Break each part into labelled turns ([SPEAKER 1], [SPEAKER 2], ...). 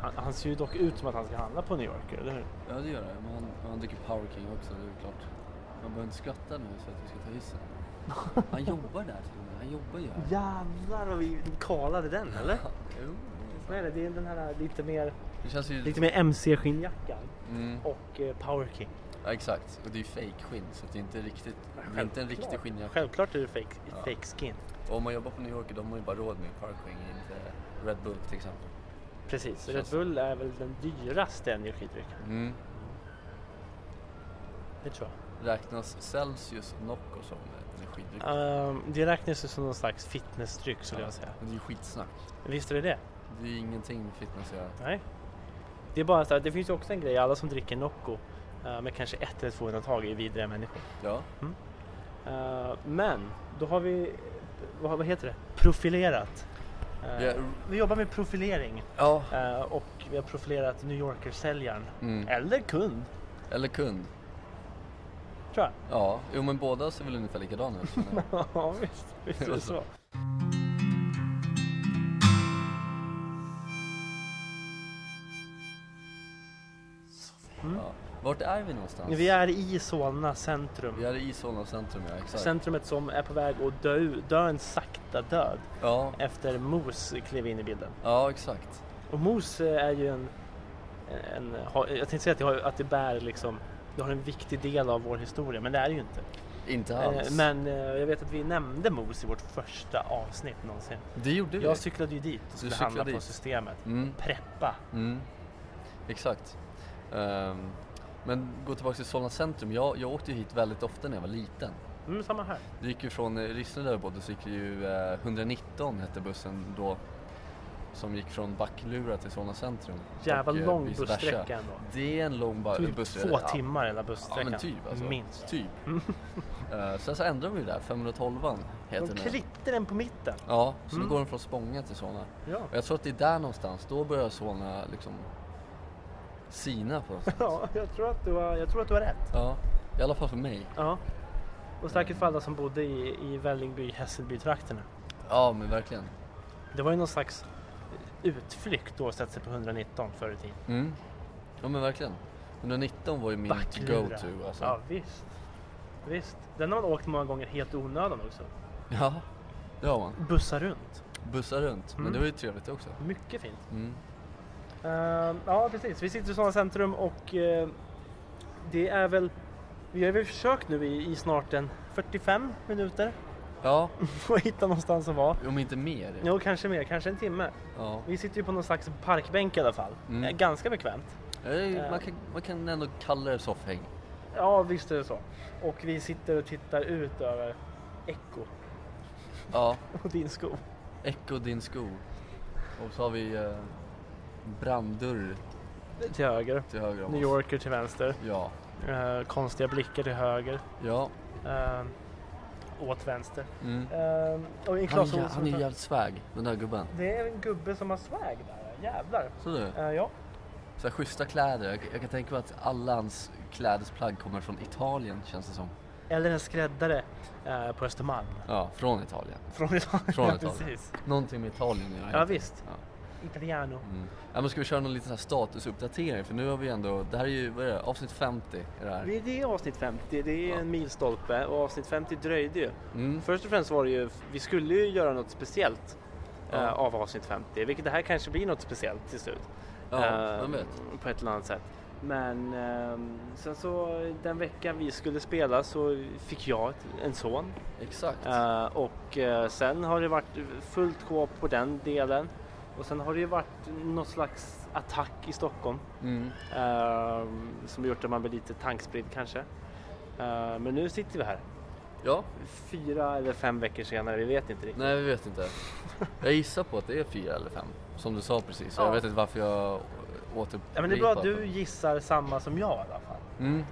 [SPEAKER 1] Han, han ser ju dock ut som att han ska handla på New Yorker, eller hur?
[SPEAKER 2] Ja det gör det, men han, men han dricker Power King också, det är ju klart. Man behöver inte skratta nu så att vi ska ta hissen. Han jobbar där till och med, han jobbar ju här.
[SPEAKER 1] Jävlar vad vi kalade den, eller?
[SPEAKER 2] Jo.
[SPEAKER 1] Nej, nej, det är den här äh, lite mer,
[SPEAKER 2] Det känns ju...
[SPEAKER 1] lite mer MC-skinnjackan
[SPEAKER 2] Mm,
[SPEAKER 1] och eh, Power King.
[SPEAKER 2] ja, exakt, och det är ju fake skinn så att det är inte riktigt, det är inte en riktig
[SPEAKER 1] Självklart.
[SPEAKER 2] skinnjacka.
[SPEAKER 1] Självklart är det fake, fake skin.
[SPEAKER 2] Och om man jobbar på New Yorker då har man ju bara råd med Power King, inte Red Bull till exempel.
[SPEAKER 1] Precis,
[SPEAKER 2] Känns
[SPEAKER 1] Red Bull är väl den dyraste energidrycken.
[SPEAKER 2] Mm.
[SPEAKER 1] Det tror jag.
[SPEAKER 2] Räknas Celsius och Nocco som energidryck?
[SPEAKER 1] Ehm, det räknas ju som någon slags fitnessdryck skulle jag säga.
[SPEAKER 2] Men det är ju skitsnack.
[SPEAKER 1] Visst är det det?
[SPEAKER 2] Det är ju ingenting med fitness att göra.
[SPEAKER 1] Nej. Det är bara så här, det finns ju också en grej, alla som dricker Nocco eh, med kanske ett eller två undantag är vidriga människor.
[SPEAKER 2] Ja.
[SPEAKER 1] Eh, men då har vi, vad, vad heter det, profilerat. Eh,
[SPEAKER 2] Vi har-
[SPEAKER 1] Vi jobbar med profilering
[SPEAKER 2] Ja.
[SPEAKER 1] eh, och vi har profilerat New Yorker-säljaren.
[SPEAKER 2] Mm.
[SPEAKER 1] Eller kund,
[SPEAKER 2] Eller kund.
[SPEAKER 1] tror jag.
[SPEAKER 2] Ja, jo men båda ser väl ungefär likadana ut. känner jag.
[SPEAKER 1] Ja, visst, visst är det så.
[SPEAKER 2] ja. Vart är vi någonstans?
[SPEAKER 1] Vi är i Solna centrum.
[SPEAKER 2] Vi är i Solna centrum, ja exakt.
[SPEAKER 1] Centrumet som är på väg att dö, ut- dö en sakta död
[SPEAKER 2] Ja,
[SPEAKER 1] efter Mos klev in i bilden.
[SPEAKER 2] ja exakt.
[SPEAKER 1] Och Mos eh, är ju en, en har- jag tänkte säga att det, har, att det bär liksom, det har en viktig del av vår historia, men det är det ju inte.
[SPEAKER 2] Inte
[SPEAKER 1] Eh,
[SPEAKER 2] alls.
[SPEAKER 1] Men eh, jag vet att vi nämnde Mos i vårt första avsnitt någonsin.
[SPEAKER 2] Det gjorde vi.
[SPEAKER 1] Jag cyklade ju dit och skulle
[SPEAKER 2] cyklade
[SPEAKER 1] handla på
[SPEAKER 2] dit.
[SPEAKER 1] systemet.
[SPEAKER 2] Mm,
[SPEAKER 1] Preppa.
[SPEAKER 2] mm. Exakt. Ehm, men gå tillbaka till Solna centrum. Jag, jag åkte ju hit väldigt ofta när jag var liten.
[SPEAKER 1] Mm, samma här.
[SPEAKER 2] Det gick ju från eh, Rissne där vi bodde så gick det ju eh, 119 hette bussen då. Som gick från Backlura till Solna centrum.
[SPEAKER 1] Jävla
[SPEAKER 2] Och, eh,
[SPEAKER 1] lång
[SPEAKER 2] vice versa.
[SPEAKER 1] bussträcka ändå.
[SPEAKER 2] Det är en lång ba-
[SPEAKER 1] Det tog typ
[SPEAKER 2] bussresa.
[SPEAKER 1] två
[SPEAKER 2] Ja,
[SPEAKER 1] timmar hela
[SPEAKER 2] Ja
[SPEAKER 1] bussträckan.
[SPEAKER 2] men typ alltså.
[SPEAKER 1] Minst.
[SPEAKER 2] Typ. Eh, sen så ändrade vi det där, 512 heter
[SPEAKER 1] De
[SPEAKER 2] den.
[SPEAKER 1] klippte den på mitten.
[SPEAKER 2] Ja, så
[SPEAKER 1] Mm.
[SPEAKER 2] nu går den från Spånga till Solna.
[SPEAKER 1] Ja.
[SPEAKER 2] Och jag tror att det är där någonstans, då börjar Solna liksom sina på något sätt.
[SPEAKER 1] Ja, jag tror att du har, jag tror att du har rätt.
[SPEAKER 2] Ja, i alla fall för mig.
[SPEAKER 1] Ja. Och säkert för alla som bodde i, i Vällingby, Hässelby-trakterna.
[SPEAKER 2] Ja men verkligen.
[SPEAKER 1] Det var ju någon slags utflykt då att sätta sig på 119 förr i tiden.
[SPEAKER 2] Mm. Ja men verkligen. 119 var ju min
[SPEAKER 1] Backlura.
[SPEAKER 2] go-to alltså.
[SPEAKER 1] Ja,
[SPEAKER 2] Ja.
[SPEAKER 1] visst. Visst. Den har man åkt många gånger helt i onödan också.
[SPEAKER 2] det har man.
[SPEAKER 1] Bussar runt.
[SPEAKER 2] Bussar runt.
[SPEAKER 1] Mm.
[SPEAKER 2] Men det var ju trevligt också.
[SPEAKER 1] Mycket fint.
[SPEAKER 2] Mm.
[SPEAKER 1] Ehm, ja, precis. Vi sitter i sådana centrum och eh, det är väl... Vi har väl försökt nu i, i snart en 45 minuter
[SPEAKER 2] Ja,
[SPEAKER 1] att hitta någonstans att vara.
[SPEAKER 2] om inte mer.
[SPEAKER 1] Jo, kanske mer. Kanske en timme.
[SPEAKER 2] Ja.
[SPEAKER 1] Vi sitter ju på någon slags parkbänk i alla fall.
[SPEAKER 2] Mm.
[SPEAKER 1] Eh, Ganska bekvämt.
[SPEAKER 2] Eh, Man, kan, man kan ändå kalla det soffhäng.
[SPEAKER 1] Ja, visst är det så. Och vi sitter och tittar ut över Echo
[SPEAKER 2] Ja.
[SPEAKER 1] och din skog.
[SPEAKER 2] Echo din sko. Och så har vi eh, branddörr
[SPEAKER 1] Till höger,
[SPEAKER 2] till höger om
[SPEAKER 1] New
[SPEAKER 2] oss.
[SPEAKER 1] Yorker till vänster,
[SPEAKER 2] Ja.
[SPEAKER 1] eh, konstiga blickar till höger,
[SPEAKER 2] Ja.
[SPEAKER 1] eh, åt vänster.
[SPEAKER 2] Mm.
[SPEAKER 1] Eh, och en
[SPEAKER 2] Han,
[SPEAKER 1] Claes
[SPEAKER 2] är, jä-
[SPEAKER 1] Olsson.
[SPEAKER 2] han är jävligt svag, den där gubben.
[SPEAKER 1] Det är en gubbe som har swag där, jävlar.
[SPEAKER 2] Så du?
[SPEAKER 1] Eh, ja,
[SPEAKER 2] Så här, schyssta kläder. Jag, jag kan tänka mig att alla hans klädesplagg kommer från Italien känns det som.
[SPEAKER 1] eller en skräddare eh, på Östermalm.
[SPEAKER 2] Ja, från Italien.
[SPEAKER 1] Från Italien.
[SPEAKER 2] Från
[SPEAKER 1] ja,
[SPEAKER 2] Italien.
[SPEAKER 1] precis.
[SPEAKER 2] Någonting med Italien gör
[SPEAKER 1] Ja,
[SPEAKER 2] jag.
[SPEAKER 1] visst.
[SPEAKER 2] Ja.
[SPEAKER 1] Italiano.
[SPEAKER 2] Mm. Ja, men ska vi köra någon liten så här statusuppdatering? För nu har vi ändå, det här är ju, vad är det, avsnitt 50 är det här.
[SPEAKER 1] Det det är avsnitt 50, det är
[SPEAKER 2] Ja.
[SPEAKER 1] en milstolpe och avsnitt 50 dröjde ju.
[SPEAKER 2] Mm.
[SPEAKER 1] Först och främst var det ju, vi skulle ju göra något speciellt
[SPEAKER 2] Ja.
[SPEAKER 1] eh, av avsnitt 50, vilket det här kanske blir något speciellt till slut.
[SPEAKER 2] Ja,
[SPEAKER 1] Eh,
[SPEAKER 2] vem vet.
[SPEAKER 1] På ett eller annat sätt. Men ehm, sen så den veckan vi skulle spela så fick jag ett- en son
[SPEAKER 2] Exakt.
[SPEAKER 1] Eh, och eh, sen har det varit fullt sjå på den delen. Och sen har det ju varit något slags attack i Stockholm
[SPEAKER 2] Mm.
[SPEAKER 1] eh, som gjort att man blir lite tankspridd kanske. Eh, men nu sitter vi här
[SPEAKER 2] Ja,
[SPEAKER 1] fyra eller fem veckor senare, vi vet inte riktigt.
[SPEAKER 2] nej vi vet inte. Jag gissar på att det är fyra eller fem. Som du sa precis.
[SPEAKER 1] Ja.
[SPEAKER 2] Jag vet inte varför jag återupprepar.
[SPEAKER 1] Ja, men det är bra att du gissar samma som jag i alla fall.
[SPEAKER 2] Mm.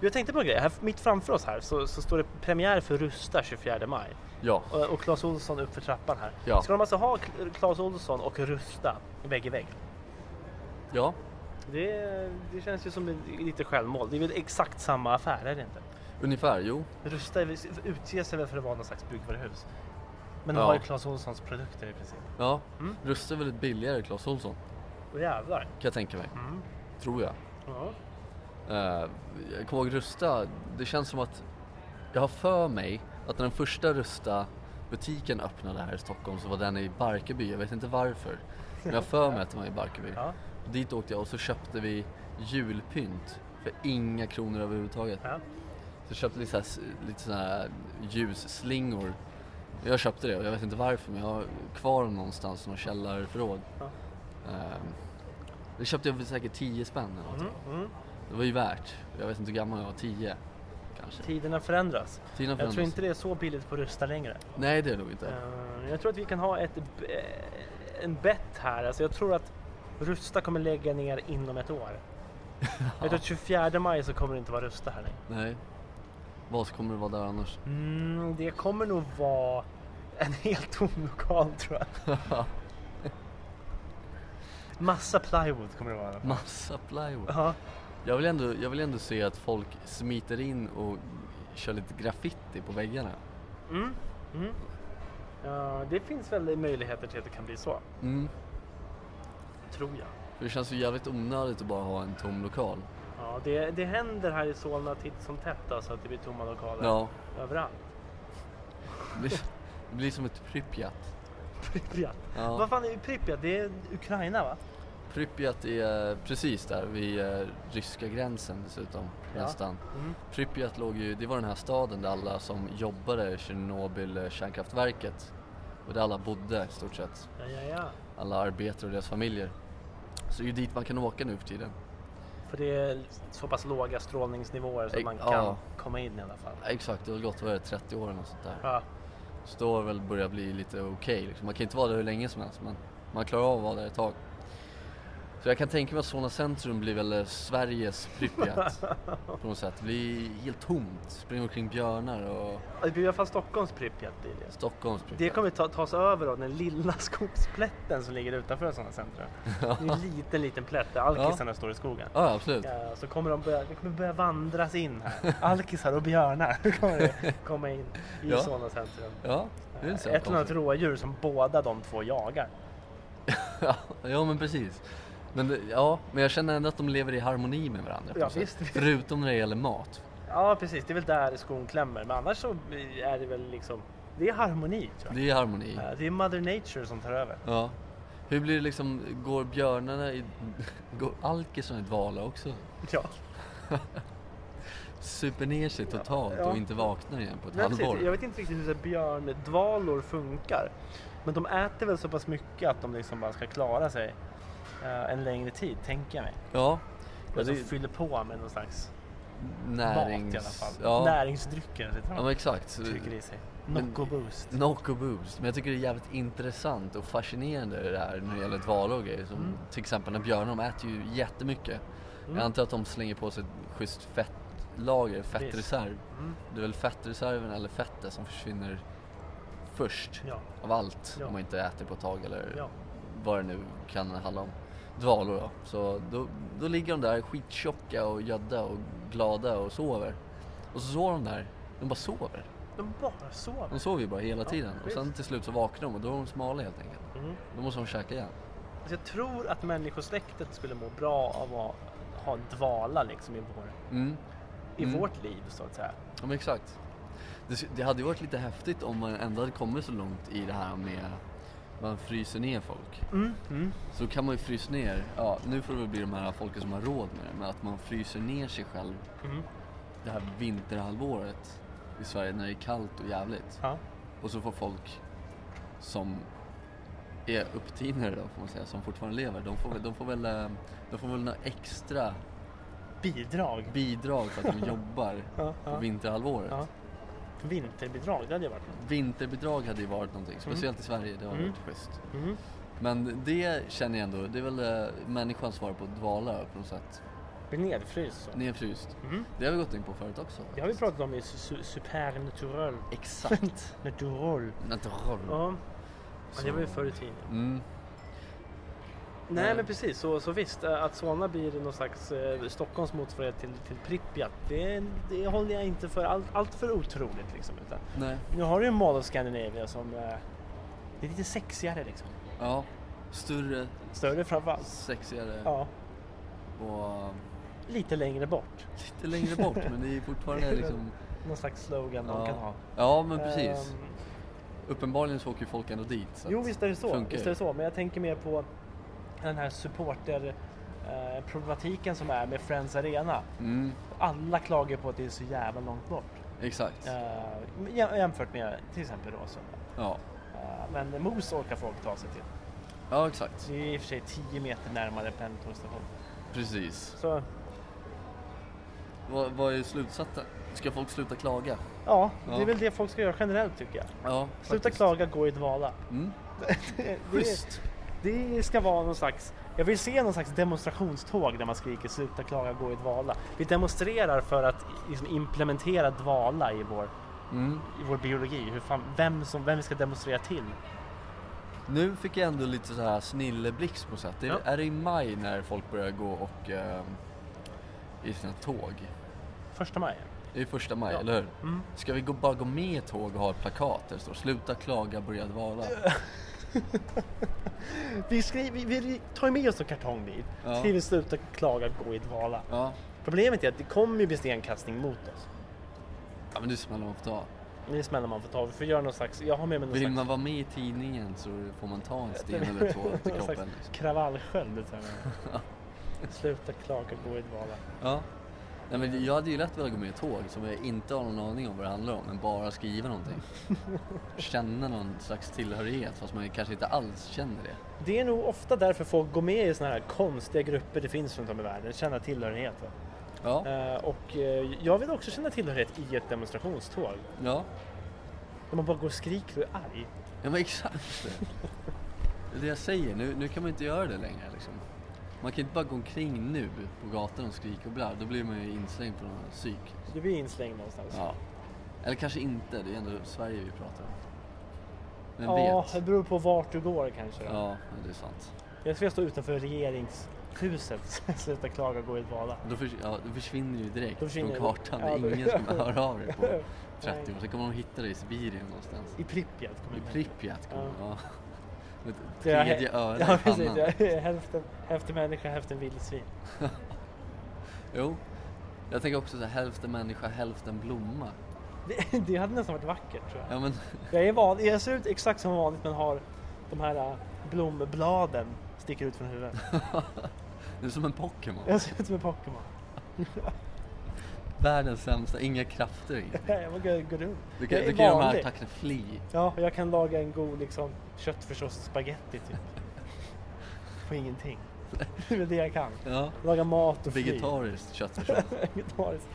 [SPEAKER 1] Jag tänkte på en grej, här, mitt framför oss här så, så står det premiär för Rusta 24 maj.
[SPEAKER 2] Ja,
[SPEAKER 1] Och, och Claes Olsson uppför trappan här.
[SPEAKER 2] Ja.
[SPEAKER 1] Ska de alltså ha Cl- Claes Olsson och Rusta vägg i vägg?
[SPEAKER 2] ja.
[SPEAKER 1] Det, det känns ju som en- lite självmål. Det är väl exakt samma affär, är det inte?
[SPEAKER 2] Ungefär, jo.
[SPEAKER 1] Rusta är väl- utger sig väl för att vara någon slags byggvaruhus. Men de
[SPEAKER 2] Ja.
[SPEAKER 1] har ju Clas Ohlsons produkter i princip.
[SPEAKER 2] Ja.
[SPEAKER 1] Mm.
[SPEAKER 2] Rusta är väldigt billigare Clas Ohlson.
[SPEAKER 1] Åh, jävlar.
[SPEAKER 2] Kan jag tänka mig.
[SPEAKER 1] Mm.
[SPEAKER 2] Tror jag.
[SPEAKER 1] Ja.
[SPEAKER 2] Eh, jag kommer ihåg Rusta, det känns som att jag har för mig att när den första Rusta butiken öppnade här i Stockholm så var den i Barkarby, jag vet inte varför. Men jag har för mig att den var i Barkarby.
[SPEAKER 1] Ja.
[SPEAKER 2] Och dit åkte jag och så köpte vi julpynt för inga kronor överhuvudtaget.
[SPEAKER 1] Ja.
[SPEAKER 2] Så köpte lite sådana här, lite såna här ljusslingor. Jag köpte det och jag vet inte varför men jag har kvar dem någonstans i någon källarförråd.
[SPEAKER 1] Ja.
[SPEAKER 2] Ehm, det köpte jag för säkert 10 spänn eller något.
[SPEAKER 1] Mm. Mm.
[SPEAKER 2] Det var ju värt. Jag vet inte hur gammal jag var, 10 kanske.
[SPEAKER 1] Tiderna förändras.
[SPEAKER 2] Tiden
[SPEAKER 1] Jag
[SPEAKER 2] förändras.
[SPEAKER 1] tror inte det är så billigt på Rusta längre.
[SPEAKER 2] Nej det är det nog inte.
[SPEAKER 1] Eh, Jag tror att vi kan ha ett, b- eh, en bett här. Alltså jag tror att Rusta kommer lägga ner inom ett år. Jag tror att 24 maj så kommer det inte vara Rusta här längre.
[SPEAKER 2] Nej. Vad kommer det vara där annars?
[SPEAKER 1] Mm, det kommer nog vara en helt tom lokal tror jag. Massa plywood kommer det vara.
[SPEAKER 2] Massa plywood.
[SPEAKER 1] Ja,
[SPEAKER 2] Jag vill, ändå, jag vill ändå se att folk smiter in och kör lite graffiti på väggarna.
[SPEAKER 1] mm, mm. Ja, det finns väl möjligheter till att det kan bli så,
[SPEAKER 2] Mm.
[SPEAKER 1] tror jag.
[SPEAKER 2] För det känns ju jävligt onödigt att bara ha en tom lokal.
[SPEAKER 1] Ja, det, det händer här i Solna titt som tätt alltså, att det blir tomma lokaler
[SPEAKER 2] Ja,
[SPEAKER 1] överallt.
[SPEAKER 2] det blir, det blir som ett Pripyat.
[SPEAKER 1] Pripyat.
[SPEAKER 2] Ja.
[SPEAKER 1] Vad fan är ju Pripyat? Det är Ukraina va?
[SPEAKER 2] Pripyat är eh, precis där vid eh, ryska gränsen dessutom,
[SPEAKER 1] Ja.
[SPEAKER 2] nästan.
[SPEAKER 1] Mm.
[SPEAKER 2] Pripyat låg ju, det var den här staden där alla som jobbade i Tjernobyl eh, kärnkraftverket och där alla bodde i stort sett.
[SPEAKER 1] Ja, ja, ja.
[SPEAKER 2] Alla arbetare och deras familjer. Så det är ju dit man kan åka nu för tiden.
[SPEAKER 1] För det är så pass låga strålningsnivåer så att
[SPEAKER 2] Ej,
[SPEAKER 1] man
[SPEAKER 2] ja.
[SPEAKER 1] kan komma in i alla fall.
[SPEAKER 2] Ja, Exakt, det har gått vad är det, 30 år eller något sånt där.
[SPEAKER 1] Ja.
[SPEAKER 2] Så då har det väl börjat bli lite okej liksom. Man kan inte vara där hur länge som helst men man klarar av att vara där ett tag. Så jag kan tänka mig att Solna centrum blir väl eh, Sveriges Pripyat på något sätt. Det blir helt tomt, springer omkring björnar och
[SPEAKER 1] Det blir i alla fall Stockholms Pripyat blir det.
[SPEAKER 2] Stockholms Pripyat.
[SPEAKER 1] Det kommer ta, tas över av den lilla skogsplätten som ligger utanför sådana centrum. Det är en liten, liten plätt där alkisarna står i skogen.
[SPEAKER 2] Ja, absolut.
[SPEAKER 1] Ja, så kommer de börja, det kommer börja vandras in här. Alkisar och björnar kommer det komma in i
[SPEAKER 2] Ja.
[SPEAKER 1] Solna centrum.
[SPEAKER 2] Ja, det är inte så
[SPEAKER 1] Ett eller annat
[SPEAKER 2] konstigt.
[SPEAKER 1] rådjur som båda de två jagar.
[SPEAKER 2] Ja, men precis. Men, det- ja, men jag känner ändå att de lever i harmoni med varandra. på
[SPEAKER 1] Ja,
[SPEAKER 2] något sätt.
[SPEAKER 1] visst.
[SPEAKER 2] Förutom när det gäller mat.
[SPEAKER 1] Ja precis, det är väl där skon klämmer. Men annars så är det väl liksom, det är harmoni tror jag.
[SPEAKER 2] Det är harmoni.
[SPEAKER 1] Eh, Det är Mother Nature som tar över.
[SPEAKER 2] Ja. Hur blir det liksom, går björnarna i... Går alkisarna i dvala också?
[SPEAKER 1] Ja,
[SPEAKER 2] Super ner sig totalt
[SPEAKER 1] Ja.
[SPEAKER 2] och inte vaknar igen på ett
[SPEAKER 1] men
[SPEAKER 2] halvår?
[SPEAKER 1] precis, jag vet inte riktigt hur så här björndvalor funkar. Men de äter väl så pass mycket att de liksom bara ska klara sig eh, en längre tid, tänker jag mig.
[SPEAKER 2] Ja.
[SPEAKER 1] Och
[SPEAKER 2] Ja,
[SPEAKER 1] så
[SPEAKER 2] det är
[SPEAKER 1] fyller på med någon slags mat
[SPEAKER 2] närings...
[SPEAKER 1] i alla fall.
[SPEAKER 2] Ja.
[SPEAKER 1] Näringsdrycker sitter
[SPEAKER 2] ja,
[SPEAKER 1] de
[SPEAKER 2] men exakt. Så-
[SPEAKER 1] och trycker i sig.
[SPEAKER 2] Men-
[SPEAKER 1] Nocco Boost.
[SPEAKER 2] Nocco Boost. Men jag tycker det är jävligt intressant och fascinerande det här när det gäller dvala och grejer. Som
[SPEAKER 1] Mm.
[SPEAKER 2] till exempel när björnar, de äter ju jättemycket.
[SPEAKER 1] Mm.
[SPEAKER 2] Jag antar att de slänger på sig ett schysst fettlager, fettreserv.
[SPEAKER 1] Mm.
[SPEAKER 2] Det är väl fettreserven eller fettet som försvinner först
[SPEAKER 1] Ja,
[SPEAKER 2] av allt
[SPEAKER 1] Ja.
[SPEAKER 2] om man inte äter på ett tag eller
[SPEAKER 1] ja.
[SPEAKER 2] vad det nu kan handla om. Dvalor då. Så då, då ligger de där skittjocka och gödda och glada och sover. Och så sover de där. De bara sover.
[SPEAKER 1] De bara sover.
[SPEAKER 2] De sover ju bara hela
[SPEAKER 1] Ja,
[SPEAKER 2] tiden och sen
[SPEAKER 1] visst.
[SPEAKER 2] till slut så vaknar de och då är de smala helt enkelt.
[SPEAKER 1] Mm.
[SPEAKER 2] Då måste de käka igen.
[SPEAKER 1] Alltså jag tror att människosläktet skulle må bra av att ha en dvala liksom i, vår,
[SPEAKER 2] Mm.
[SPEAKER 1] i
[SPEAKER 2] Mm.
[SPEAKER 1] vårt liv så att säga.
[SPEAKER 2] Ja men exakt. Det, sk- det hade ju varit lite häftigt om man ändå hade kommit så långt i det här med man fryser ner folk.
[SPEAKER 1] Mm. Mm.
[SPEAKER 2] Så kan man ju frysa ner, ja nu får det väl bli de här folket som har råd med det, men att man fryser ner sig själv
[SPEAKER 1] Mm.
[SPEAKER 2] det här vinterhalvåret i Sverige när det är kallt och jävligt.
[SPEAKER 1] Ja.
[SPEAKER 2] Och så får folk som är upptinare då får man säga, som fortfarande lever, de får, väl- de får väl, eh, de får väl några extra
[SPEAKER 1] Bidrag.
[SPEAKER 2] bidrag för att de jobbar
[SPEAKER 1] Ja,
[SPEAKER 2] på
[SPEAKER 1] ja.
[SPEAKER 2] vinterhalvåret.
[SPEAKER 1] Ja. Vinterbidrag, det hade ju varit något.
[SPEAKER 2] Vinterbidrag hade ju varit någonting, speciellt i Sverige, det har
[SPEAKER 1] Mm.
[SPEAKER 2] varit schysst.
[SPEAKER 1] Mm.
[SPEAKER 2] Men det känner jag ändå, det är väl eh, människans svar på dvala på något sätt.
[SPEAKER 1] Blir nedfryst så.
[SPEAKER 2] Nedfryst.
[SPEAKER 1] Mm.
[SPEAKER 2] Det har vi gått in på förut också.
[SPEAKER 1] Det har vi pratat om i su- su- supernatural.
[SPEAKER 2] Exakt.
[SPEAKER 1] Natural.
[SPEAKER 2] Natural.
[SPEAKER 1] Ja, ja, det var ju
[SPEAKER 2] Så-
[SPEAKER 1] förr i tiden. Eh.
[SPEAKER 2] Mm.
[SPEAKER 1] Nej
[SPEAKER 2] Nej.
[SPEAKER 1] men precis, så, så visst eh, att Solna blir någon slags eh, Stockholms motsvarighet till, till Pripyat. Det, det håller jag inte för allt, allt för otroligt liksom. Utan,
[SPEAKER 2] Nej.
[SPEAKER 1] nu har du ju Mall of Scandinavia som eh, det är lite sexigare liksom.
[SPEAKER 2] Ja. Större,
[SPEAKER 1] Större framförallt.
[SPEAKER 2] sexigare
[SPEAKER 1] Ja,
[SPEAKER 2] och
[SPEAKER 1] lite längre bort.
[SPEAKER 2] lite längre bort men det är fortfarande liksom...
[SPEAKER 1] Någon slags slogan de kan ha.
[SPEAKER 2] ja men precis.
[SPEAKER 1] Ehm,
[SPEAKER 2] Uppenbarligen så åker ju folk ändå dit. Så
[SPEAKER 1] jo,
[SPEAKER 2] att
[SPEAKER 1] visst är, det så.
[SPEAKER 2] funkar
[SPEAKER 1] visst är
[SPEAKER 2] ju.
[SPEAKER 1] det så. Men jag tänker mer på den här supporterproblematiken som är med Friends Arena.
[SPEAKER 2] Mm,
[SPEAKER 1] Alla klagar på att det är så jävla långt bort.
[SPEAKER 2] exakt.
[SPEAKER 1] Eh, jäm- jämfört med till exempel Råsunda.
[SPEAKER 2] Ja.
[SPEAKER 1] Eh, men Mos orkar folk ta sig till.
[SPEAKER 2] ja, exakt.
[SPEAKER 1] Det är i och för sig 10 meter närmare pendeltågsstation.
[SPEAKER 2] Precis.
[SPEAKER 1] Så
[SPEAKER 2] Vad, vad är slutsatsen? Ska folk sluta klaga?
[SPEAKER 1] ja, det är
[SPEAKER 2] Ja.
[SPEAKER 1] väl det folk ska göra generellt tycker jag.
[SPEAKER 2] Ja,
[SPEAKER 1] Sluta
[SPEAKER 2] faktiskt.
[SPEAKER 1] klaga, gå i dvala.
[SPEAKER 2] Mm.
[SPEAKER 1] Det, det,
[SPEAKER 2] Schysst.
[SPEAKER 1] det ska vara någon slags, jag vill se någon slags demonstrationståg där man skriker sluta klaga, gå i dvala. Vi demonstrerar för att liksom, implementera dvala i vår,
[SPEAKER 2] Mm.
[SPEAKER 1] i vår biologi. Hur fan, vem, som, vem vi ska demonstrera till.
[SPEAKER 2] Nu fick jag ändå lite så här snilleblixt på sätt. Det är,
[SPEAKER 1] Ja.
[SPEAKER 2] är det i maj när folk börjar gå och eh, i sina tåg?
[SPEAKER 1] Första maj.
[SPEAKER 2] Det är första maj,
[SPEAKER 1] Ja.
[SPEAKER 2] eller hur?
[SPEAKER 1] Mm.
[SPEAKER 2] Ska vi gå, bara gå med i ett tåg och ha ett plakat där det står “Sluta klaga, börja dvala”?
[SPEAKER 1] Vi, skriver, vi, vi tar ju med oss en kartong dit.
[SPEAKER 2] Ja.
[SPEAKER 1] Skriver sluta klaga, gå i dvala.
[SPEAKER 2] Ja.
[SPEAKER 1] Problemet är att det kommer ju bli stenkastning mot oss.
[SPEAKER 2] ja, men det smäller man får ta.
[SPEAKER 1] Det är smällar man får ta. Vi får göra någon slags, jag har med mig någon
[SPEAKER 2] Vill
[SPEAKER 1] slags
[SPEAKER 2] man vara med i tidningen så får man ta en sten eller två till
[SPEAKER 1] någon slags
[SPEAKER 2] kroppen. Liksom.
[SPEAKER 1] kravallsköld. utan- Sluta klaga, gå i dvala.
[SPEAKER 2] Ja. Nej, men jag hade ju lätt velat gå med i ett tåg som jag inte har någon aning om vad det handlar om, men bara skriva någonting. Känna någon slags tillhörighet fast man kanske inte alls känner det.
[SPEAKER 1] Det är nog ofta därför folk går med i såna här konstiga grupper det finns runt om i världen, känna tillhörighet. va?
[SPEAKER 2] Ja,
[SPEAKER 1] Eh, och eh, jag vill också känna tillhörighet i ett demonstrationståg.
[SPEAKER 2] ja.
[SPEAKER 1] Där man bara går och skriker och är arg.
[SPEAKER 2] Ja men exakt. Det är det jag säger, nu, nu kan man inte göra det längre liksom. Man kan inte bara gå omkring nu på gatan och skrika och bla, då blir man ju inslängd på någon psyk.
[SPEAKER 1] Du blir inslängd någonstans.
[SPEAKER 2] Ja. Eller kanske inte, det är ändå Sverige vi pratar om. Vem
[SPEAKER 1] Ja, det
[SPEAKER 2] vet?
[SPEAKER 1] beror på vart du går kanske.
[SPEAKER 2] Ja, men det är sant.
[SPEAKER 1] Jag skulle stå utanför regeringshuset. Sluta klaga, gå i dvala.
[SPEAKER 2] Då, förs- ja, då försvinner du ju direkt
[SPEAKER 1] Då försvinner
[SPEAKER 2] från
[SPEAKER 1] du.
[SPEAKER 2] kartan.
[SPEAKER 1] Ja, då-
[SPEAKER 2] Ingen kommer höra av dig på 30
[SPEAKER 1] Nej.
[SPEAKER 2] år. Sen kommer de hitta dig i Sibirien någonstans.
[SPEAKER 1] I Pripyat
[SPEAKER 2] I
[SPEAKER 1] kommer jag ihåg.
[SPEAKER 2] Pripyat kommer
[SPEAKER 1] Ja.
[SPEAKER 2] ja. Med
[SPEAKER 1] Det är-
[SPEAKER 2] tredje örat
[SPEAKER 1] Ja,
[SPEAKER 2] i
[SPEAKER 1] precis.
[SPEAKER 2] pannan.
[SPEAKER 1] Jag är hälften, hälften människa, hälften vildsvin.
[SPEAKER 2] Jo. Jag tänker också så här, hälften människa, hälften blomma.
[SPEAKER 1] Det, det hade nästan varit vackert tror jag.
[SPEAKER 2] Ja men,
[SPEAKER 1] Jag, är van, jag ser ut exakt som vanligt men har de här äh, blombladen sticker ut från huvudet.
[SPEAKER 2] det är som en Pokémon.
[SPEAKER 1] Jag ser ut som en Pokémon.
[SPEAKER 2] Världens sämsta, inga krafter. inget.
[SPEAKER 1] Jag bara går- går runt.
[SPEAKER 2] Du kan,
[SPEAKER 1] jag är
[SPEAKER 2] du kan göra de här
[SPEAKER 1] vanlig.
[SPEAKER 2] attackerna fly.
[SPEAKER 1] Ja, och jag kan laga en god liksom, köttfärssås spagetti typ. På ingenting. Det är väl det jag kan.
[SPEAKER 2] Ja.
[SPEAKER 1] Laga mat och fly.
[SPEAKER 2] Vegetariskt köttfärssås.
[SPEAKER 1] Vegetariskt.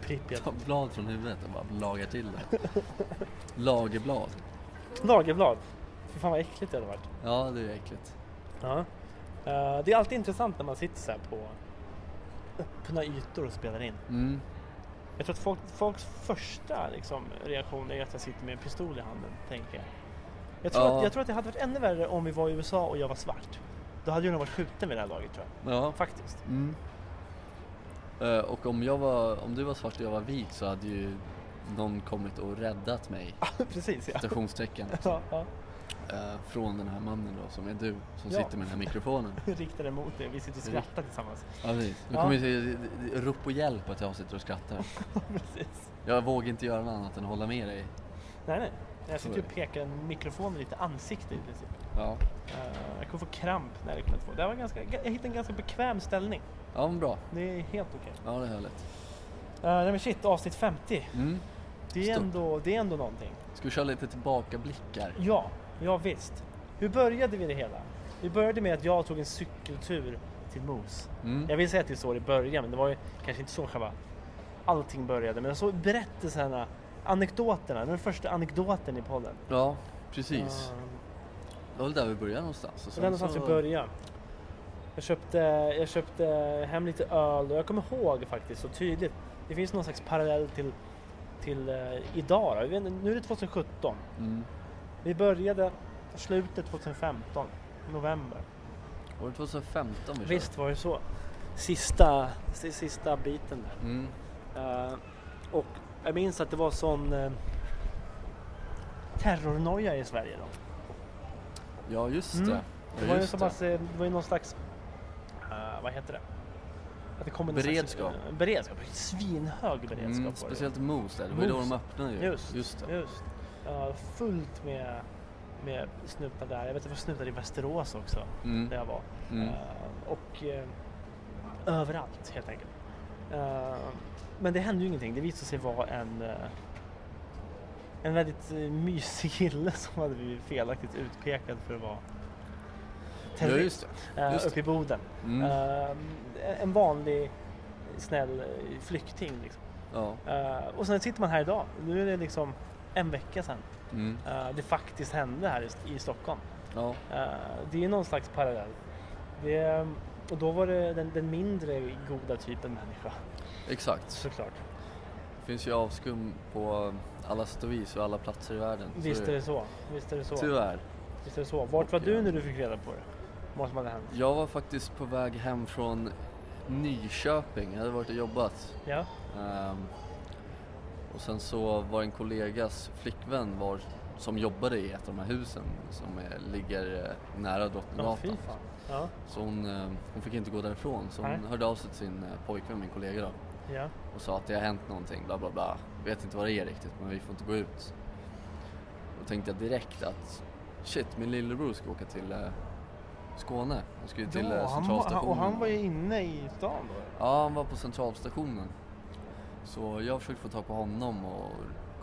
[SPEAKER 1] Pripyat.
[SPEAKER 2] Ta blad från huvudet och bara lagar till det. Lagerblad.
[SPEAKER 1] Lagerblad. Fy fan vad äckligt det hade varit.
[SPEAKER 2] Ja, det är äckligt.
[SPEAKER 1] Ja. Eh, det är alltid intressant när man sitter så här på öppna ytor och spelar in.
[SPEAKER 2] Mm.
[SPEAKER 1] Jag tror att folk, folks första liksom, reaktion är att jag sitter med en pistol i handen, tänker jag. Jag tror,
[SPEAKER 2] Ja.
[SPEAKER 1] att, jag tror att det hade varit ännu värre om vi var i USA och jag var svart. Då hade jag nog varit skjuten vid det här laget tror jag.
[SPEAKER 2] Ja.
[SPEAKER 1] Faktiskt.
[SPEAKER 2] Mm. Eh, och om, jag var, om du var svart och jag var vit så hade ju någon kommit och räddat mig,
[SPEAKER 1] Precis ja.
[SPEAKER 2] citationstecken,
[SPEAKER 1] ja, ja.
[SPEAKER 2] eh, från den här mannen då som är du, som
[SPEAKER 1] Ja.
[SPEAKER 2] sitter med den här mikrofonen.
[SPEAKER 1] Riktade mot dig. Vi sitter och
[SPEAKER 2] Mm.
[SPEAKER 1] skrattar tillsammans.
[SPEAKER 2] Ja, precis. Nu
[SPEAKER 1] Ja.
[SPEAKER 2] kommer ju ja. rop och hjälp att jag sitter och skrattar.
[SPEAKER 1] Precis.
[SPEAKER 2] Jag vågar inte göra något annat än hålla med dig.
[SPEAKER 1] Nej, nej. Jag sitter
[SPEAKER 2] är
[SPEAKER 1] och pekar en mikrofon i ditt ansikte i princip.
[SPEAKER 2] Ja,
[SPEAKER 1] Eh, jag kommer få kramp när det kommer få. Det här var ganska, jag hittade en ganska bekväm ställning.
[SPEAKER 2] ja men bra.
[SPEAKER 1] Det är helt okej.
[SPEAKER 2] Ja, det höll lätt.
[SPEAKER 1] Uh, nej men shit, avsnitt 50.
[SPEAKER 2] Mm.
[SPEAKER 1] Det är,
[SPEAKER 2] Stort.
[SPEAKER 1] ändå, det är ändå någonting.
[SPEAKER 2] Ska vi köra lite tillbakablickar?
[SPEAKER 1] Ja, ja visst. Hur började vi det hela? Vi började med att jag tog en cykeltur till Mos.
[SPEAKER 2] Mm.
[SPEAKER 1] Jag vill säga att det är så det började, men det var ju kanske inte så själva allting började. Men så berättelserna, anekdoterna, den första anekdoten i podden.
[SPEAKER 2] Ja, precis.
[SPEAKER 1] Ehm,
[SPEAKER 2] Det var väl där vi började någonstans. Och
[SPEAKER 1] Det var någonstans vi började. Jag köpte, jag köpte hem lite öl och jag kommer ihåg faktiskt så tydligt. Det finns någon slags parallell till, till eh, idag. Då. Jag vet inte, Nu är det 2017.
[SPEAKER 2] Mm.
[SPEAKER 1] Vi började slutet 2015, november.
[SPEAKER 2] Var det 2015 vi körde?
[SPEAKER 1] Visst var det så. Sista, si- sista biten där.
[SPEAKER 2] Mm.
[SPEAKER 1] Eh, och jag minns att det var sån uh, terrornoja i Sverige då.
[SPEAKER 2] Ja, just
[SPEAKER 1] Mm.
[SPEAKER 2] det.
[SPEAKER 1] Det
[SPEAKER 2] Ja,
[SPEAKER 1] var ju,
[SPEAKER 2] just
[SPEAKER 1] som
[SPEAKER 2] det.
[SPEAKER 1] att, eh, det var ju någon slags, eh, vad heter det? Att det kom en
[SPEAKER 2] Beredskap.
[SPEAKER 1] Slags, eh, beredskap, svinhög beredskap. var
[SPEAKER 2] Mm,
[SPEAKER 1] det.
[SPEAKER 2] speciellt Moose där, det var ju då
[SPEAKER 1] Moose.
[SPEAKER 2] de öppnade ju.
[SPEAKER 1] Just,
[SPEAKER 2] Just det.
[SPEAKER 1] Just. Ja, fullt med, med snutar där. Jag vet att det var snutar i Västerås också,
[SPEAKER 2] Mm.
[SPEAKER 1] där jag var.
[SPEAKER 2] Mm.
[SPEAKER 1] Eh, och eh, överallt helt enkelt. Eh, men det hände ju ingenting. Det visade sig vara en, eh, en väldigt eh, mysig kille som hade blivit felaktigt utpekad för att vara
[SPEAKER 2] Ja, just
[SPEAKER 1] terrorist
[SPEAKER 2] det.
[SPEAKER 1] eh,
[SPEAKER 2] just det.
[SPEAKER 1] uppe i Boden.
[SPEAKER 2] Mm.
[SPEAKER 1] Eh, en vanlig snäll eh, flykting liksom.
[SPEAKER 2] Ja.
[SPEAKER 1] Eh, och sen sitter man här idag. Nu är det liksom en vecka sedan
[SPEAKER 2] Mm.
[SPEAKER 1] eh, det faktiskt hände här i, i Stockholm.
[SPEAKER 2] Ja.
[SPEAKER 1] Eh, det är någon slags parallell. Det, är- och då var det den, den mindre goda typen människa,
[SPEAKER 2] Exakt.
[SPEAKER 1] såklart.
[SPEAKER 2] Det finns ju avskum på alla sätt och vis och alla platser i världen. Så
[SPEAKER 1] Visst är det så. Visst är det så.
[SPEAKER 2] Tyvärr.
[SPEAKER 1] Visst är det så. Vart var
[SPEAKER 2] Och,
[SPEAKER 1] du
[SPEAKER 2] eh,
[SPEAKER 1] när du fick reda på det? Vad som hade hänt?
[SPEAKER 2] Jag var faktiskt på väg hem från Nyköping. Jag hade varit och jobbat.
[SPEAKER 1] Ja,
[SPEAKER 2] Ehm, och sen så var en kollegas flickvän var, som jobbade i ett av de här husen som eh, ligger eh, nära
[SPEAKER 1] ja fy
[SPEAKER 2] Drottninggatan.
[SPEAKER 1] fan. Ja,
[SPEAKER 2] så hon, eh, hon fick inte gå därifrån så hon
[SPEAKER 1] Nej.
[SPEAKER 2] hörde av sig till sin eh, pojkvän, min kollega då,
[SPEAKER 1] ja.
[SPEAKER 2] och sa att det har hänt någonting, bla bla bla. Vet inte vad det är riktigt men vi får inte gå ut. Då tänkte jag direkt att shit, min lillebror ska åka till eh, Skåne. Han ska ju till
[SPEAKER 1] ja,
[SPEAKER 2] eh,
[SPEAKER 1] han, var-
[SPEAKER 2] centralstationen.
[SPEAKER 1] och han var ju inne i stan då.
[SPEAKER 2] Ja, han var på centralstationen. Så jag försökte få tag på honom och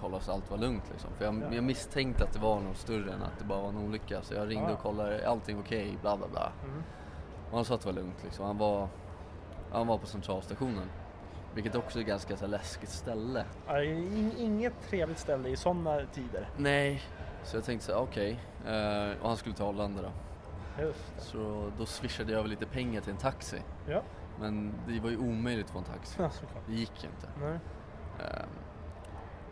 [SPEAKER 2] kolla så allt var lugnt liksom. För jag,
[SPEAKER 1] Ja.
[SPEAKER 2] jag misstänkte att det var något större än att det bara var en olycka. Så jag ringde
[SPEAKER 1] Ah.
[SPEAKER 2] och kollade, är allting okej? Bla bla bla.
[SPEAKER 1] Mm.
[SPEAKER 2] Och han sa att det var lugnt liksom. Han var, han var på centralstationen. Vilket också är ganska så här, läskigt ställe.
[SPEAKER 1] Ja, det är in- Inget trevligt ställe i sådana tider.
[SPEAKER 2] Nej. Så jag tänkte så här, okej. Eh, och han skulle till Arlanda då.
[SPEAKER 1] Just det.
[SPEAKER 2] Så då swishade jag över lite pengar till en taxi.
[SPEAKER 1] Ja,
[SPEAKER 2] Men det var ju omöjligt att få en taxi.
[SPEAKER 1] ja såklart.
[SPEAKER 2] Det gick inte.
[SPEAKER 1] Nej.
[SPEAKER 2] Ehm,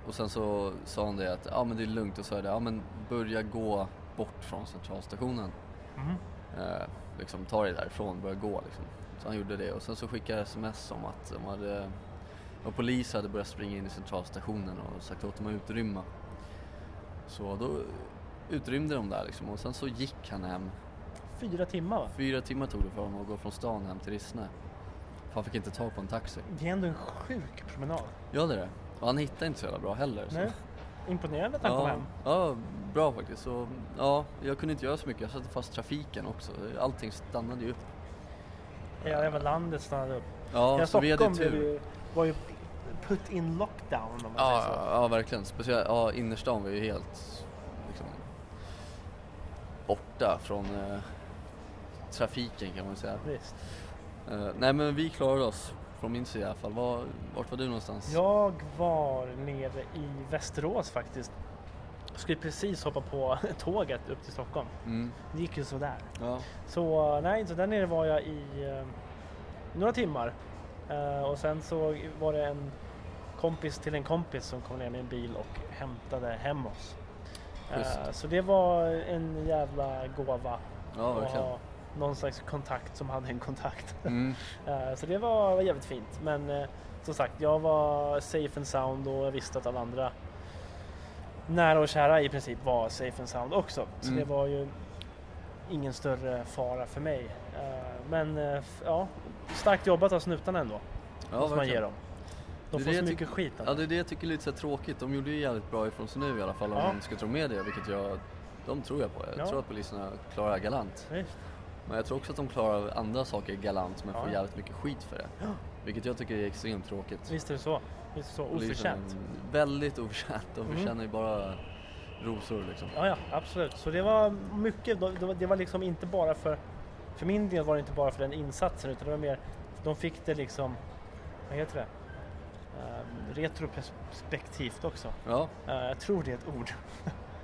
[SPEAKER 2] Och sen så sa han det att ja men det är lugnt och så är det ja men börja gå bort från centralstationen.
[SPEAKER 1] Mhm.
[SPEAKER 2] Eh, liksom ta dig därifrån, börja gå liksom. Så han gjorde det och sen så skickade jag sms om att de hade, och polis hade börjat springa in i centralstationen och sagt åt dem att utrymma. Så då utrymde de där liksom och sen så gick han hem.
[SPEAKER 1] Fyra timmar va?
[SPEAKER 2] Fyra timmar tog det för honom att gå från stan hem till Rissne. För han fick inte tag på en taxi.
[SPEAKER 1] Det är ändå en sjuk promenad.
[SPEAKER 2] Ja det är det. Och han hittade inte så jävla bra heller. Så.
[SPEAKER 1] Nej. Imponerande att han kom hem.
[SPEAKER 2] Ja, bra faktiskt. Så, ja, jag kunde inte göra så mycket. Jag satte fast trafiken också. Allting stannade ju upp.
[SPEAKER 1] Hela jävla landet stannade upp.
[SPEAKER 2] Ja,
[SPEAKER 1] Hela
[SPEAKER 2] så vi hade
[SPEAKER 1] Stockholm
[SPEAKER 2] tur.
[SPEAKER 1] blev ju, var ju put in lockdown om man
[SPEAKER 2] Ja,
[SPEAKER 1] säger så.
[SPEAKER 2] ja, ja, verkligen. Speciellt ja, innerstan var ju helt liksom, borta från eh, trafiken kan man säga.
[SPEAKER 1] Visst.
[SPEAKER 2] Eh, nej, men vi klarade oss. Från min sida i alla fall. Var, vart var du någonstans?
[SPEAKER 1] Jag var nere i Västerås faktiskt. Jag skulle precis hoppa på tåget upp till Stockholm.
[SPEAKER 2] Mm,
[SPEAKER 1] Det gick ju sådär.
[SPEAKER 2] ja.
[SPEAKER 1] Så nej, så där nere var jag i eh, några timmar. Eh, och sen så var det en kompis till en kompis som kom ner med en bil och hämtade hem oss. Eh,
[SPEAKER 2] Schysst.
[SPEAKER 1] så det var en jävla gåva
[SPEAKER 2] ja,
[SPEAKER 1] att
[SPEAKER 2] verkligen.
[SPEAKER 1] ha någon slags kontakt som hade en kontakt.
[SPEAKER 2] Mm,
[SPEAKER 1] Eh, så det var, var jävligt fint. Men eh, som sagt, jag var safe and sound och jag visste att alla andra nära och kära i princip var safe and sound också. Så
[SPEAKER 2] Mm.
[SPEAKER 1] det var ju ingen större fara för mig. Eh, men eh, f- ja, starkt jobbat av snutarna ändå.
[SPEAKER 2] ja,
[SPEAKER 1] måste man
[SPEAKER 2] verkligen.
[SPEAKER 1] ge dem. De
[SPEAKER 2] Det är
[SPEAKER 1] får
[SPEAKER 2] det
[SPEAKER 1] så
[SPEAKER 2] jag
[SPEAKER 1] mycket
[SPEAKER 2] tycker-
[SPEAKER 1] skit.
[SPEAKER 2] Ja,
[SPEAKER 1] annars.
[SPEAKER 2] det är det jag tycker är lite så här tråkigt. De gjorde ju jävligt bra ifrån sig nu i alla fall om
[SPEAKER 1] Ja.
[SPEAKER 2] de ska tro med det, vilket jag... De tror jag på. Jag
[SPEAKER 1] Ja.
[SPEAKER 2] tror att poliserna klarar det galant.
[SPEAKER 1] Visst.
[SPEAKER 2] Men jag tror också att de klarar andra saker galant men får
[SPEAKER 1] Ja.
[SPEAKER 2] jävligt mycket skit för det. Vilket jag tycker är extremt tråkigt.
[SPEAKER 1] Visst är det så. Visst är det så.
[SPEAKER 2] Poliserna-
[SPEAKER 1] Oförtjänt.
[SPEAKER 2] Väldigt oförtjänt. De
[SPEAKER 1] Mm.
[SPEAKER 2] förtjänar ju bara rosor liksom.
[SPEAKER 1] Ja, ja, absolut. Så det var mycket, det var- det var liksom inte bara för, för min del var det inte bara för den insatsen utan det var mer, de fick det liksom, vad heter det? Eh, retroperspektivt också.
[SPEAKER 2] Ja,
[SPEAKER 1] Eh, jag tror det är ett ord.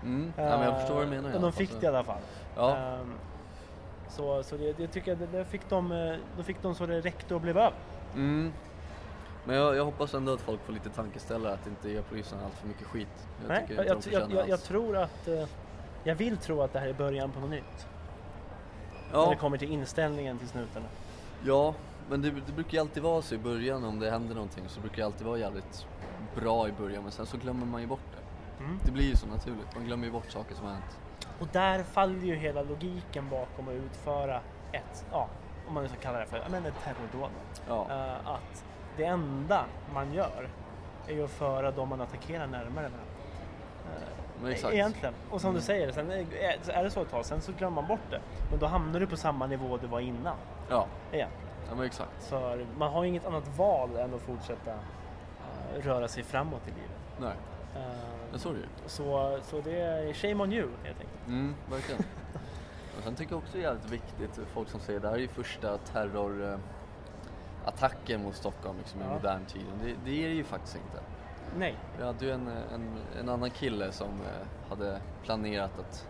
[SPEAKER 2] mm. ja men jag förstår vad du
[SPEAKER 1] Eh,
[SPEAKER 2] menar. i
[SPEAKER 1] Men
[SPEAKER 2] alla
[SPEAKER 1] de
[SPEAKER 2] fall.
[SPEAKER 1] fick det i alla fall.
[SPEAKER 2] Ja,
[SPEAKER 1] Eh, så så det, det tycker jag, det, det fick de, eh, då fick de så det räckte och blev över.
[SPEAKER 2] mm. Men jag, jag hoppas ändå att folk får lite tankeställare att inte ge poliserna allt för mycket skit. Jag
[SPEAKER 1] Nej,
[SPEAKER 2] tycker
[SPEAKER 1] jag, jag,
[SPEAKER 2] inte de
[SPEAKER 1] jag,
[SPEAKER 2] förtjänar
[SPEAKER 1] jag, jag
[SPEAKER 2] alls.
[SPEAKER 1] tror att, eh, jag vill tro att det här är början på något nytt. När
[SPEAKER 2] Ja.
[SPEAKER 1] det kommer till inställningen till snutarna.
[SPEAKER 2] Ja, men det, det brukar ju alltid vara så i början om det händer någonting så brukar det alltid vara jävligt bra i början men sen så glömmer man ju bort det.
[SPEAKER 1] Mm.
[SPEAKER 2] Det blir ju så naturligt, man glömmer ju bort saker som har hänt.
[SPEAKER 1] Och där faller ju hela logiken bakom att utföra ett, ja, om man nu ska kalla det för ja, men ett terrordåd.
[SPEAKER 2] Ja.
[SPEAKER 1] Eh, att det enda man gör är ju att föra de man attackerar närmare varandra. Eh,
[SPEAKER 2] Men exakt.
[SPEAKER 1] Egentligen. Och som
[SPEAKER 2] Mm.
[SPEAKER 1] du säger, sen är, så är det så ett tag, sen så glömmer man bort det. Men då hamnar du på samma nivå du var innan.
[SPEAKER 2] Ja.
[SPEAKER 1] Igen.
[SPEAKER 2] ja, men exakt.
[SPEAKER 1] För man har ju inget annat val än att fortsätta eh, röra sig framåt i livet.
[SPEAKER 2] Nej,
[SPEAKER 1] Eh,
[SPEAKER 2] men så är det ju.
[SPEAKER 1] så, så det är shame on you helt enkelt.
[SPEAKER 2] Mm, verkligen. Och sen tycker jag också det är jävligt viktigt, för folk som säger det här är ju första terrorattacken mot Stockholm liksom, i
[SPEAKER 1] Ja.
[SPEAKER 2] modern tid. Och Det, det är det ju faktiskt inte.
[SPEAKER 1] Nej.
[SPEAKER 2] Vi hade ju en, en, en annan kille som eh, hade planerat att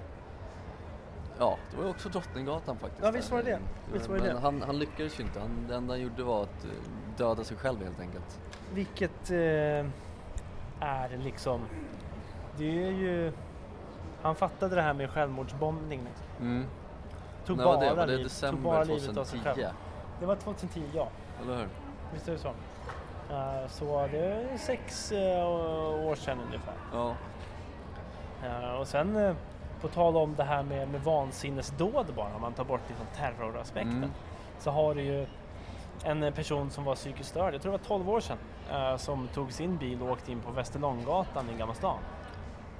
[SPEAKER 2] Ja, det var ju också Drottninggatan faktiskt. Mm.
[SPEAKER 1] Ja, visst var det det. Visst var det
[SPEAKER 2] Men
[SPEAKER 1] det.
[SPEAKER 2] han, han lyckades ju inte. Han, det enda han gjorde var att eh, döda sig själv helt enkelt.
[SPEAKER 1] Vilket eh, är liksom... Det är ju... Han fattade det här med självmordsbombning. Liksom.
[SPEAKER 2] Mm.
[SPEAKER 1] Tog,
[SPEAKER 2] När
[SPEAKER 1] bara
[SPEAKER 2] var det? Var det
[SPEAKER 1] liv, tog bara
[SPEAKER 2] december
[SPEAKER 1] livet av sig
[SPEAKER 2] 2010?
[SPEAKER 1] själv. Det var 2010, ja.
[SPEAKER 2] Eller hur?
[SPEAKER 1] Visst är det så? Eh, så det är sex eh, år sedan ungefär.
[SPEAKER 2] Ja.
[SPEAKER 1] Eh, och sen eh, på tal om det här med, med vansinnesdåd bara, om man tar bort liksom, terroraspekten.
[SPEAKER 2] Mm.
[SPEAKER 1] Så har du ju en eh, person som var psykiskt störd, jag tror det var 12 år sedan, eh, som tog sin bil och åkte in på Västerlånggatan i Gamla stan.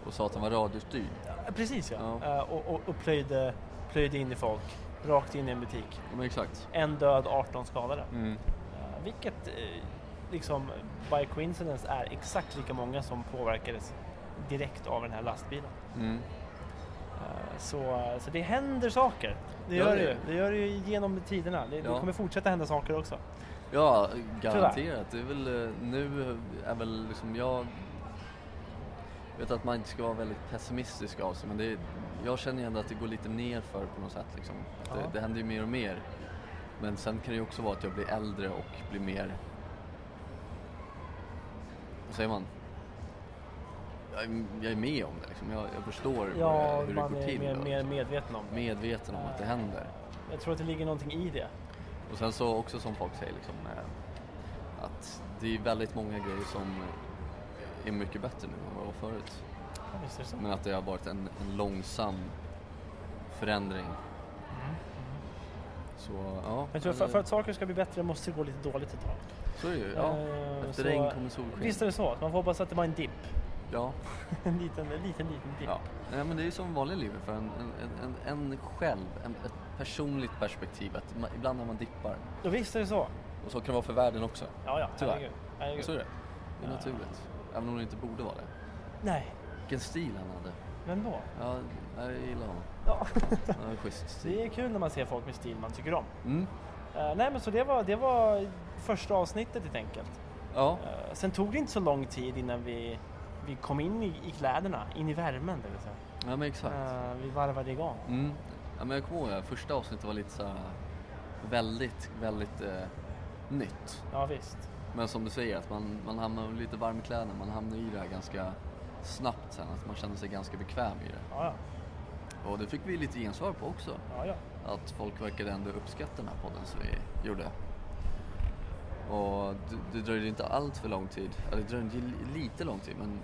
[SPEAKER 2] Och sa att han var radiostyrd.
[SPEAKER 1] Eh, Precis ja.
[SPEAKER 2] Ja.
[SPEAKER 1] Eh, och, och, och plöjde, plöjde in i folk, rakt in i en butik.
[SPEAKER 2] Ja, men exakt.
[SPEAKER 1] En död, 18 skadade.
[SPEAKER 2] Mm.
[SPEAKER 1] Eh, Vilket eh, liksom by coincidence är exakt lika många som påverkades direkt av den här lastbilen.
[SPEAKER 2] Mm.
[SPEAKER 1] Eh, Så, så det händer saker. Det
[SPEAKER 2] Ja,
[SPEAKER 1] gör
[SPEAKER 2] det
[SPEAKER 1] det
[SPEAKER 2] gör
[SPEAKER 1] ju. Det gör det ju genom tiderna. Det,
[SPEAKER 2] Ja.
[SPEAKER 1] det kommer fortsätta hända saker också.
[SPEAKER 2] Ja, garanterat. Det är väl, eh, nu är väl liksom jag... vet att man inte ska vara väldigt pessimistisk av sig men det är, jag känner ju ändå att det går lite nerför på något sätt. Liksom. Att
[SPEAKER 1] Ja.
[SPEAKER 2] det, det händer ju mer och mer. Men sen kan det ju också vara att jag blir äldre och blir mer... Vad säger man? Jag är, jag är med om det liksom. Jag, jag förstår vad-
[SPEAKER 1] Ja,
[SPEAKER 2] hur det
[SPEAKER 1] man
[SPEAKER 2] går
[SPEAKER 1] är
[SPEAKER 2] till.
[SPEAKER 1] mer,
[SPEAKER 2] och
[SPEAKER 1] mer medveten om det.
[SPEAKER 2] Medveten om att det händer.
[SPEAKER 1] Jag tror att det ligger någonting i det.
[SPEAKER 2] Och sen så också som folk säger liksom eh, att det är väldigt många grejer som är mycket bättre nu än vad det var förut.
[SPEAKER 1] Ja, visst är det så.
[SPEAKER 2] Men att det har varit en, en långsam förändring. Mm. Så ja.
[SPEAKER 1] Jag tror
[SPEAKER 2] eller-
[SPEAKER 1] för, för att saker ska bli bättre måste det gå lite dåligt ett tag.
[SPEAKER 2] Så är det ju. Ja.
[SPEAKER 1] Eh,
[SPEAKER 2] Efter
[SPEAKER 1] så-
[SPEAKER 2] regn kommer solsken.
[SPEAKER 1] Visst är det så. Man får hoppas att det var en dipp.
[SPEAKER 2] Ja.
[SPEAKER 1] En liten, en liten, liten dipp.
[SPEAKER 2] ja. Nej, men det är ju som vanliga livet för en, en, en, en en själv, en, ett personligt perspektiv. Att man, ibland har man dippar.
[SPEAKER 1] Ja, visst är det så.
[SPEAKER 2] Och så kan det vara för världen också.
[SPEAKER 1] Ja, ja.
[SPEAKER 2] Tyvärr.
[SPEAKER 1] Herregud.
[SPEAKER 2] Men
[SPEAKER 1] Herregud.
[SPEAKER 2] så är det. Det är
[SPEAKER 1] Ja.
[SPEAKER 2] naturligt. Även om det inte borde vara det.
[SPEAKER 1] Nej,
[SPEAKER 2] Vilken stil han hade.
[SPEAKER 1] men då?
[SPEAKER 2] Ja, jag gillar honom.
[SPEAKER 1] Ja.
[SPEAKER 2] Han har schysst stil.
[SPEAKER 1] Det är kul när man ser folk med stil man tycker om.
[SPEAKER 2] Mm.
[SPEAKER 1] Eh, nej men så det var, det var första avsnittet helt enkelt.
[SPEAKER 2] Ja,
[SPEAKER 1] Eh, sen tog det inte så lång tid innan vi, vi kom in i, i kläderna, in i värmen det vill säga.
[SPEAKER 2] ja men exakt.
[SPEAKER 1] Eh, vi varvade igång.
[SPEAKER 2] Mm. Ja, men jag kommer ihåg det här första avsnittet var lite så här väldigt, väldigt eh, nytt.
[SPEAKER 1] Ja visst.
[SPEAKER 2] Men som du säger, att man, man hamnar lite varm i kläderna. Man hamnar i det här ganska snabbt sen. Att man känner sig ganska bekväm i det.
[SPEAKER 1] Ja, ja.
[SPEAKER 2] Och det fick vi lite gensvar på också.
[SPEAKER 1] ja, ja.
[SPEAKER 2] Att folk verkade ändå uppskatta den här podden som vi gjorde. Och det, det dröjde inte allt för lång tid, eller det dröjde li- lite lång tid men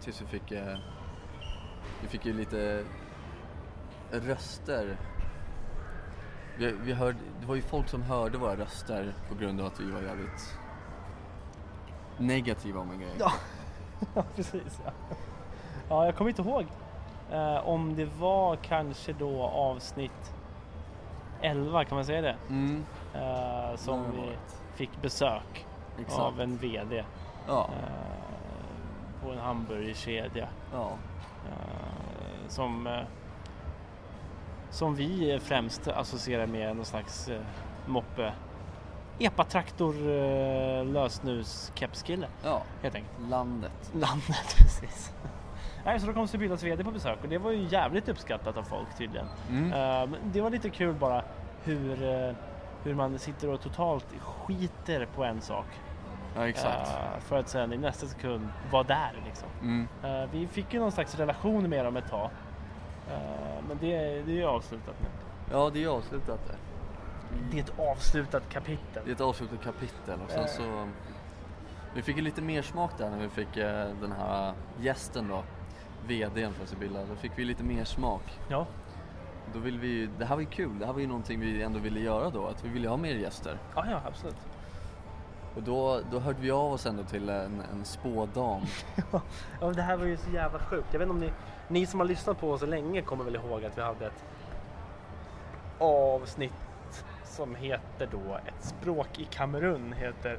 [SPEAKER 2] tills vi fick, eh, vi fick ju lite röster. Vi, vi hörde, det var ju folk som hörde våra röster på grund av att vi var jävligt negativa om en grej.
[SPEAKER 1] Ja, ja precis. Ja. ja, jag kommer inte ihåg eh, om det var kanske då avsnitt 11, kan man säga det?
[SPEAKER 2] Mm,
[SPEAKER 1] Eh, som
[SPEAKER 2] det var
[SPEAKER 1] vi
[SPEAKER 2] det.
[SPEAKER 1] fick besök
[SPEAKER 2] exakt.
[SPEAKER 1] av en VD
[SPEAKER 2] Ja,
[SPEAKER 1] eh, på en hamburgerkedja.
[SPEAKER 2] ja,
[SPEAKER 1] Eh, som, eh, som vi främst associerar med någon slags eh, moppe epatraktor eh, lösnus kepskille
[SPEAKER 2] ja,
[SPEAKER 1] helt enkelt.
[SPEAKER 2] landet.
[SPEAKER 1] Landet precis. Nej, så då kom Sibylas VD på besök och det var ju jävligt uppskattat av folk tydligen.
[SPEAKER 2] Mm.
[SPEAKER 1] Eh, men det var lite kul bara hur, eh, hur man sitter och totalt skiter på en sak.
[SPEAKER 2] Ja, exakt.
[SPEAKER 1] eh, för att sen i nästa sekund vara där liksom.
[SPEAKER 2] Mm.
[SPEAKER 1] Eh, vi fick ju någon slags relation med dem ett tag. Eh, men det, det är ju avslutat nu.
[SPEAKER 2] Ja, det är avslutat det.
[SPEAKER 1] Det är ett avslutat kapitel.
[SPEAKER 2] Det är ett avslutat kapitel och sen
[SPEAKER 1] Eh.
[SPEAKER 2] så... Vi fick ju lite mer smak där när vi fick eh, den här gästen då. VDn för Sibylla, då fick vi lite mer smak.
[SPEAKER 1] Ja,
[SPEAKER 2] Då vill vi ju, det här var ju kul, det här var ju någonting vi ändå ville göra då, att vi ville ha mer gäster.
[SPEAKER 1] ja, ja absolut.
[SPEAKER 2] Och då, då hörde vi av oss ändå till en, en spådam.
[SPEAKER 1] Ja, men det här var ju så jävla sjukt. Jag vet inte om ni, ni som har lyssnat på oss så länge kommer väl ihåg att vi hade ett avsnitt som heter då Ett språk i Kamerun heter,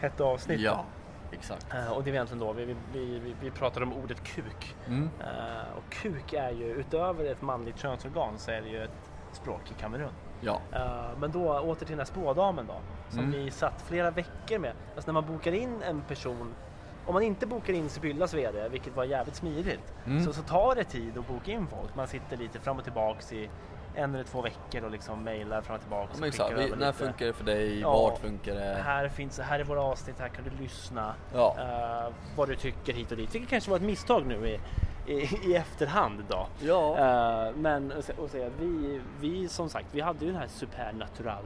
[SPEAKER 1] hette avsnittet.
[SPEAKER 2] ja, exakt.
[SPEAKER 1] Eh, Och det är egentligen då vi, vi, vi, vi- vi pratar om ordet kuk.
[SPEAKER 2] Mm.
[SPEAKER 1] Eh, och kuk är ju utöver ett manligt könsorgan så är det ju ett språk i Kamerun.
[SPEAKER 2] Ja,
[SPEAKER 1] Eh, men då åter till den här spådamen då. Som
[SPEAKER 2] Mm.
[SPEAKER 1] vi satt flera veckor med. Alltså när man bokar in en person. Om man inte bokar in Sibyllas VD, vilket var jävligt smidigt.
[SPEAKER 2] Mm.
[SPEAKER 1] Så, så tar det tid att boka in folk. Man sitter lite fram och tillbaks i en eller två veckor och liksom mejlar fram och tillbaks.
[SPEAKER 2] ja
[SPEAKER 1] och
[SPEAKER 2] men exakt.
[SPEAKER 1] skickar
[SPEAKER 2] Vi,
[SPEAKER 1] över
[SPEAKER 2] när
[SPEAKER 1] lite.
[SPEAKER 2] funkar det för dig?
[SPEAKER 1] Ja.
[SPEAKER 2] Vart funkar det?
[SPEAKER 1] Här finns, här är våra avsnitt, här kan du lyssna.
[SPEAKER 2] Ja.
[SPEAKER 1] eh, vad du tycker hit och dit. Vilket kanske var ett misstag nu i, i, i efterhand då.
[SPEAKER 2] Ja,
[SPEAKER 1] Eh, men och sä- och säga, vi, vi som sagt, vi hade ju den här supernatural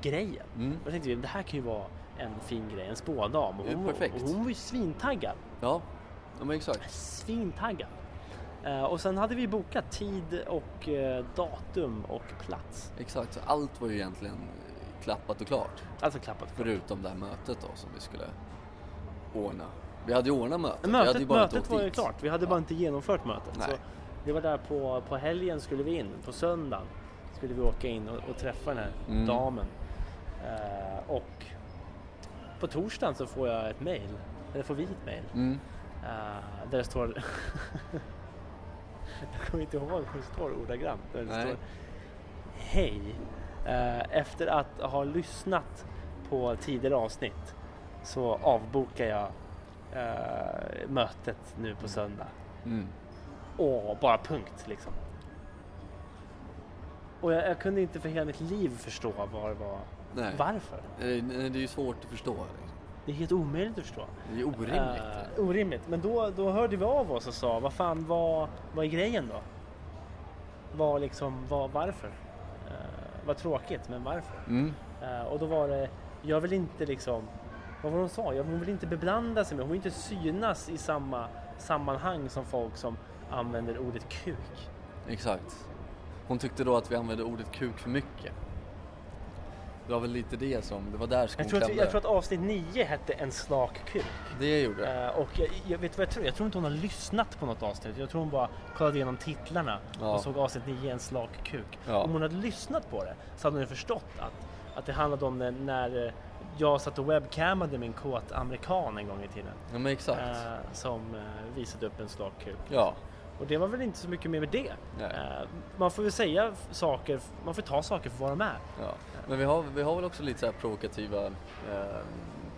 [SPEAKER 1] grejen.
[SPEAKER 2] mm.
[SPEAKER 1] Då tänkte vi, det här kan ju vara en fin grej, en spådam. Och
[SPEAKER 2] Det är
[SPEAKER 1] hon,
[SPEAKER 2] perfekt.
[SPEAKER 1] och hon var ju svintaggad.
[SPEAKER 2] ja. ja men exakt.
[SPEAKER 1] Svintaggad. Eh, och sen hade vi bokat tid och eh, datum och plats.
[SPEAKER 2] Exakt, så allt var ju egentligen eh, klappat och klart.
[SPEAKER 1] Alltså klappat för.
[SPEAKER 2] Förutom det här mötet då som vi skulle ordna. Vi hade ju ordnat mötet. vi hade ju
[SPEAKER 1] Mötet,
[SPEAKER 2] bara inte
[SPEAKER 1] mötet
[SPEAKER 2] åkt
[SPEAKER 1] var ju
[SPEAKER 2] dit.
[SPEAKER 1] klart, vi hade
[SPEAKER 2] Ja.
[SPEAKER 1] bara inte genomfört mötet.
[SPEAKER 2] Nej.
[SPEAKER 1] Så det var där på, på helgen skulle vi in, på söndagen skulle vi åka in och, och träffa den här
[SPEAKER 2] Mm.
[SPEAKER 1] damen. Eh, och på torsdagen så får jag ett mail, eller får vi ett mail,
[SPEAKER 2] Mm.
[SPEAKER 1] eh, där det står... jag kommer inte ihåg hur det står ordagrant. Där det
[SPEAKER 2] Nej.
[SPEAKER 1] står Hej! Eh, efter att ha lyssnat på tidigare avsnitt så avbokar jag eh, mötet nu på söndag.
[SPEAKER 2] Mm.
[SPEAKER 1] Åh, bara punkt liksom. Och jag, jag kunde inte för hela mitt liv förstå vad det var.
[SPEAKER 2] Nej.
[SPEAKER 1] Varför?
[SPEAKER 2] Eh, nej, Det är ju svårt att förstå. liksom.
[SPEAKER 1] Det är helt omöjligt att förstå.
[SPEAKER 2] Det är ju orimligt.
[SPEAKER 1] Eh, orimligt. Men då, då hörde vi av oss och sa, vad fan, vad, vad är grejen då? Vad liksom, vad, varför? Eh, vad tråkigt, men varför?
[SPEAKER 2] Mm.
[SPEAKER 1] Eh, och då var det, jag vill inte liksom, vad var det hon sa? Jag, hon vill inte beblanda sig med, hon vill inte synas i samma sammanhang som folk som använder ordet kuk.
[SPEAKER 2] Exakt. Hon tyckte då att vi använde ordet kuk för mycket. Det var väl lite det som, det var där skon
[SPEAKER 1] Jag tror, att,
[SPEAKER 2] klämde.
[SPEAKER 1] jag tror att avsnitt 9 hette En slak kuk.
[SPEAKER 2] Det gjorde det.
[SPEAKER 1] Eh, och jag, jag vet vad jag tror? Jag tror inte hon har lyssnat på något avsnitt. Jag tror hon bara kollade igenom titlarna
[SPEAKER 2] Ja.
[SPEAKER 1] och såg avsnitt 9 En slak kuk.
[SPEAKER 2] Ja.
[SPEAKER 1] Om hon hade lyssnat på det så hade hon ju förstått att, att det handlade om när, när eh, jag satt och webcammade min kåt amerikan en gång i tiden.
[SPEAKER 2] Ja men exakt.
[SPEAKER 1] Eh, som eh, visade upp en slak kuk.
[SPEAKER 2] Ja.
[SPEAKER 1] Och det var väl inte så mycket mer med det.
[SPEAKER 2] Nej.
[SPEAKER 1] Eh, man får väl säga f- saker, man får ta saker för vad de är.
[SPEAKER 2] ja. Men vi har, vi har väl också lite så här provokativa eh,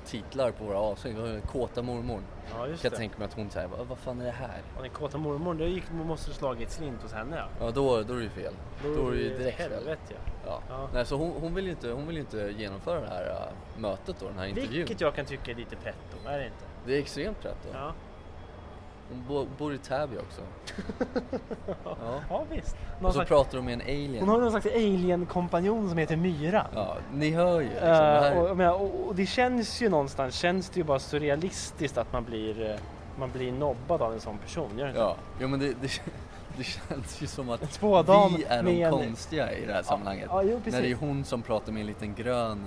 [SPEAKER 2] titlar på våra avsnitt. Vi har ju Kåta mormor.
[SPEAKER 1] Ja, just
[SPEAKER 2] Kan
[SPEAKER 1] det.
[SPEAKER 2] jag tänka mig att hon säger, vad vad fan är det här?
[SPEAKER 1] Och den kåta mormor, det gick, man måste slagit slint hos henne ja.
[SPEAKER 2] Ja då, då är det ju fel. Då, är det ju direkt fel.
[SPEAKER 1] helvete, ja.
[SPEAKER 2] Ja.
[SPEAKER 1] Ja.
[SPEAKER 2] Nej, så hon, hon, vill ju inte, hon vill ju inte genomföra det här eh, mötet då, den här intervjun.
[SPEAKER 1] Vilket jag kan tycka är lite pretto, är det inte?
[SPEAKER 2] Det är extremt rätt då.
[SPEAKER 1] Ja,
[SPEAKER 2] Hon bo, bor i Täby också. ja.
[SPEAKER 1] ja visst. Någon
[SPEAKER 2] Och så
[SPEAKER 1] slags,
[SPEAKER 2] pratar de med en alien.
[SPEAKER 1] hon har någon slags alien-kompanjon som heter Myra.
[SPEAKER 2] Ja, ni hör ju. Liksom, det
[SPEAKER 1] Eh,
[SPEAKER 2] här...
[SPEAKER 1] och, jag menar, och, och det känns ju någonstans, känns det ju bara surrealistiskt att man blir, eh, man blir nobbad av en sån person. Gör det inte?
[SPEAKER 2] Ja, jo, men det, det, det känns ju som att
[SPEAKER 1] spådam
[SPEAKER 2] vi är de
[SPEAKER 1] med en-
[SPEAKER 2] konstiga i det här sammanhanget.
[SPEAKER 1] ja, jo,
[SPEAKER 2] När det är
[SPEAKER 1] precis.
[SPEAKER 2] hon som pratar med en liten grön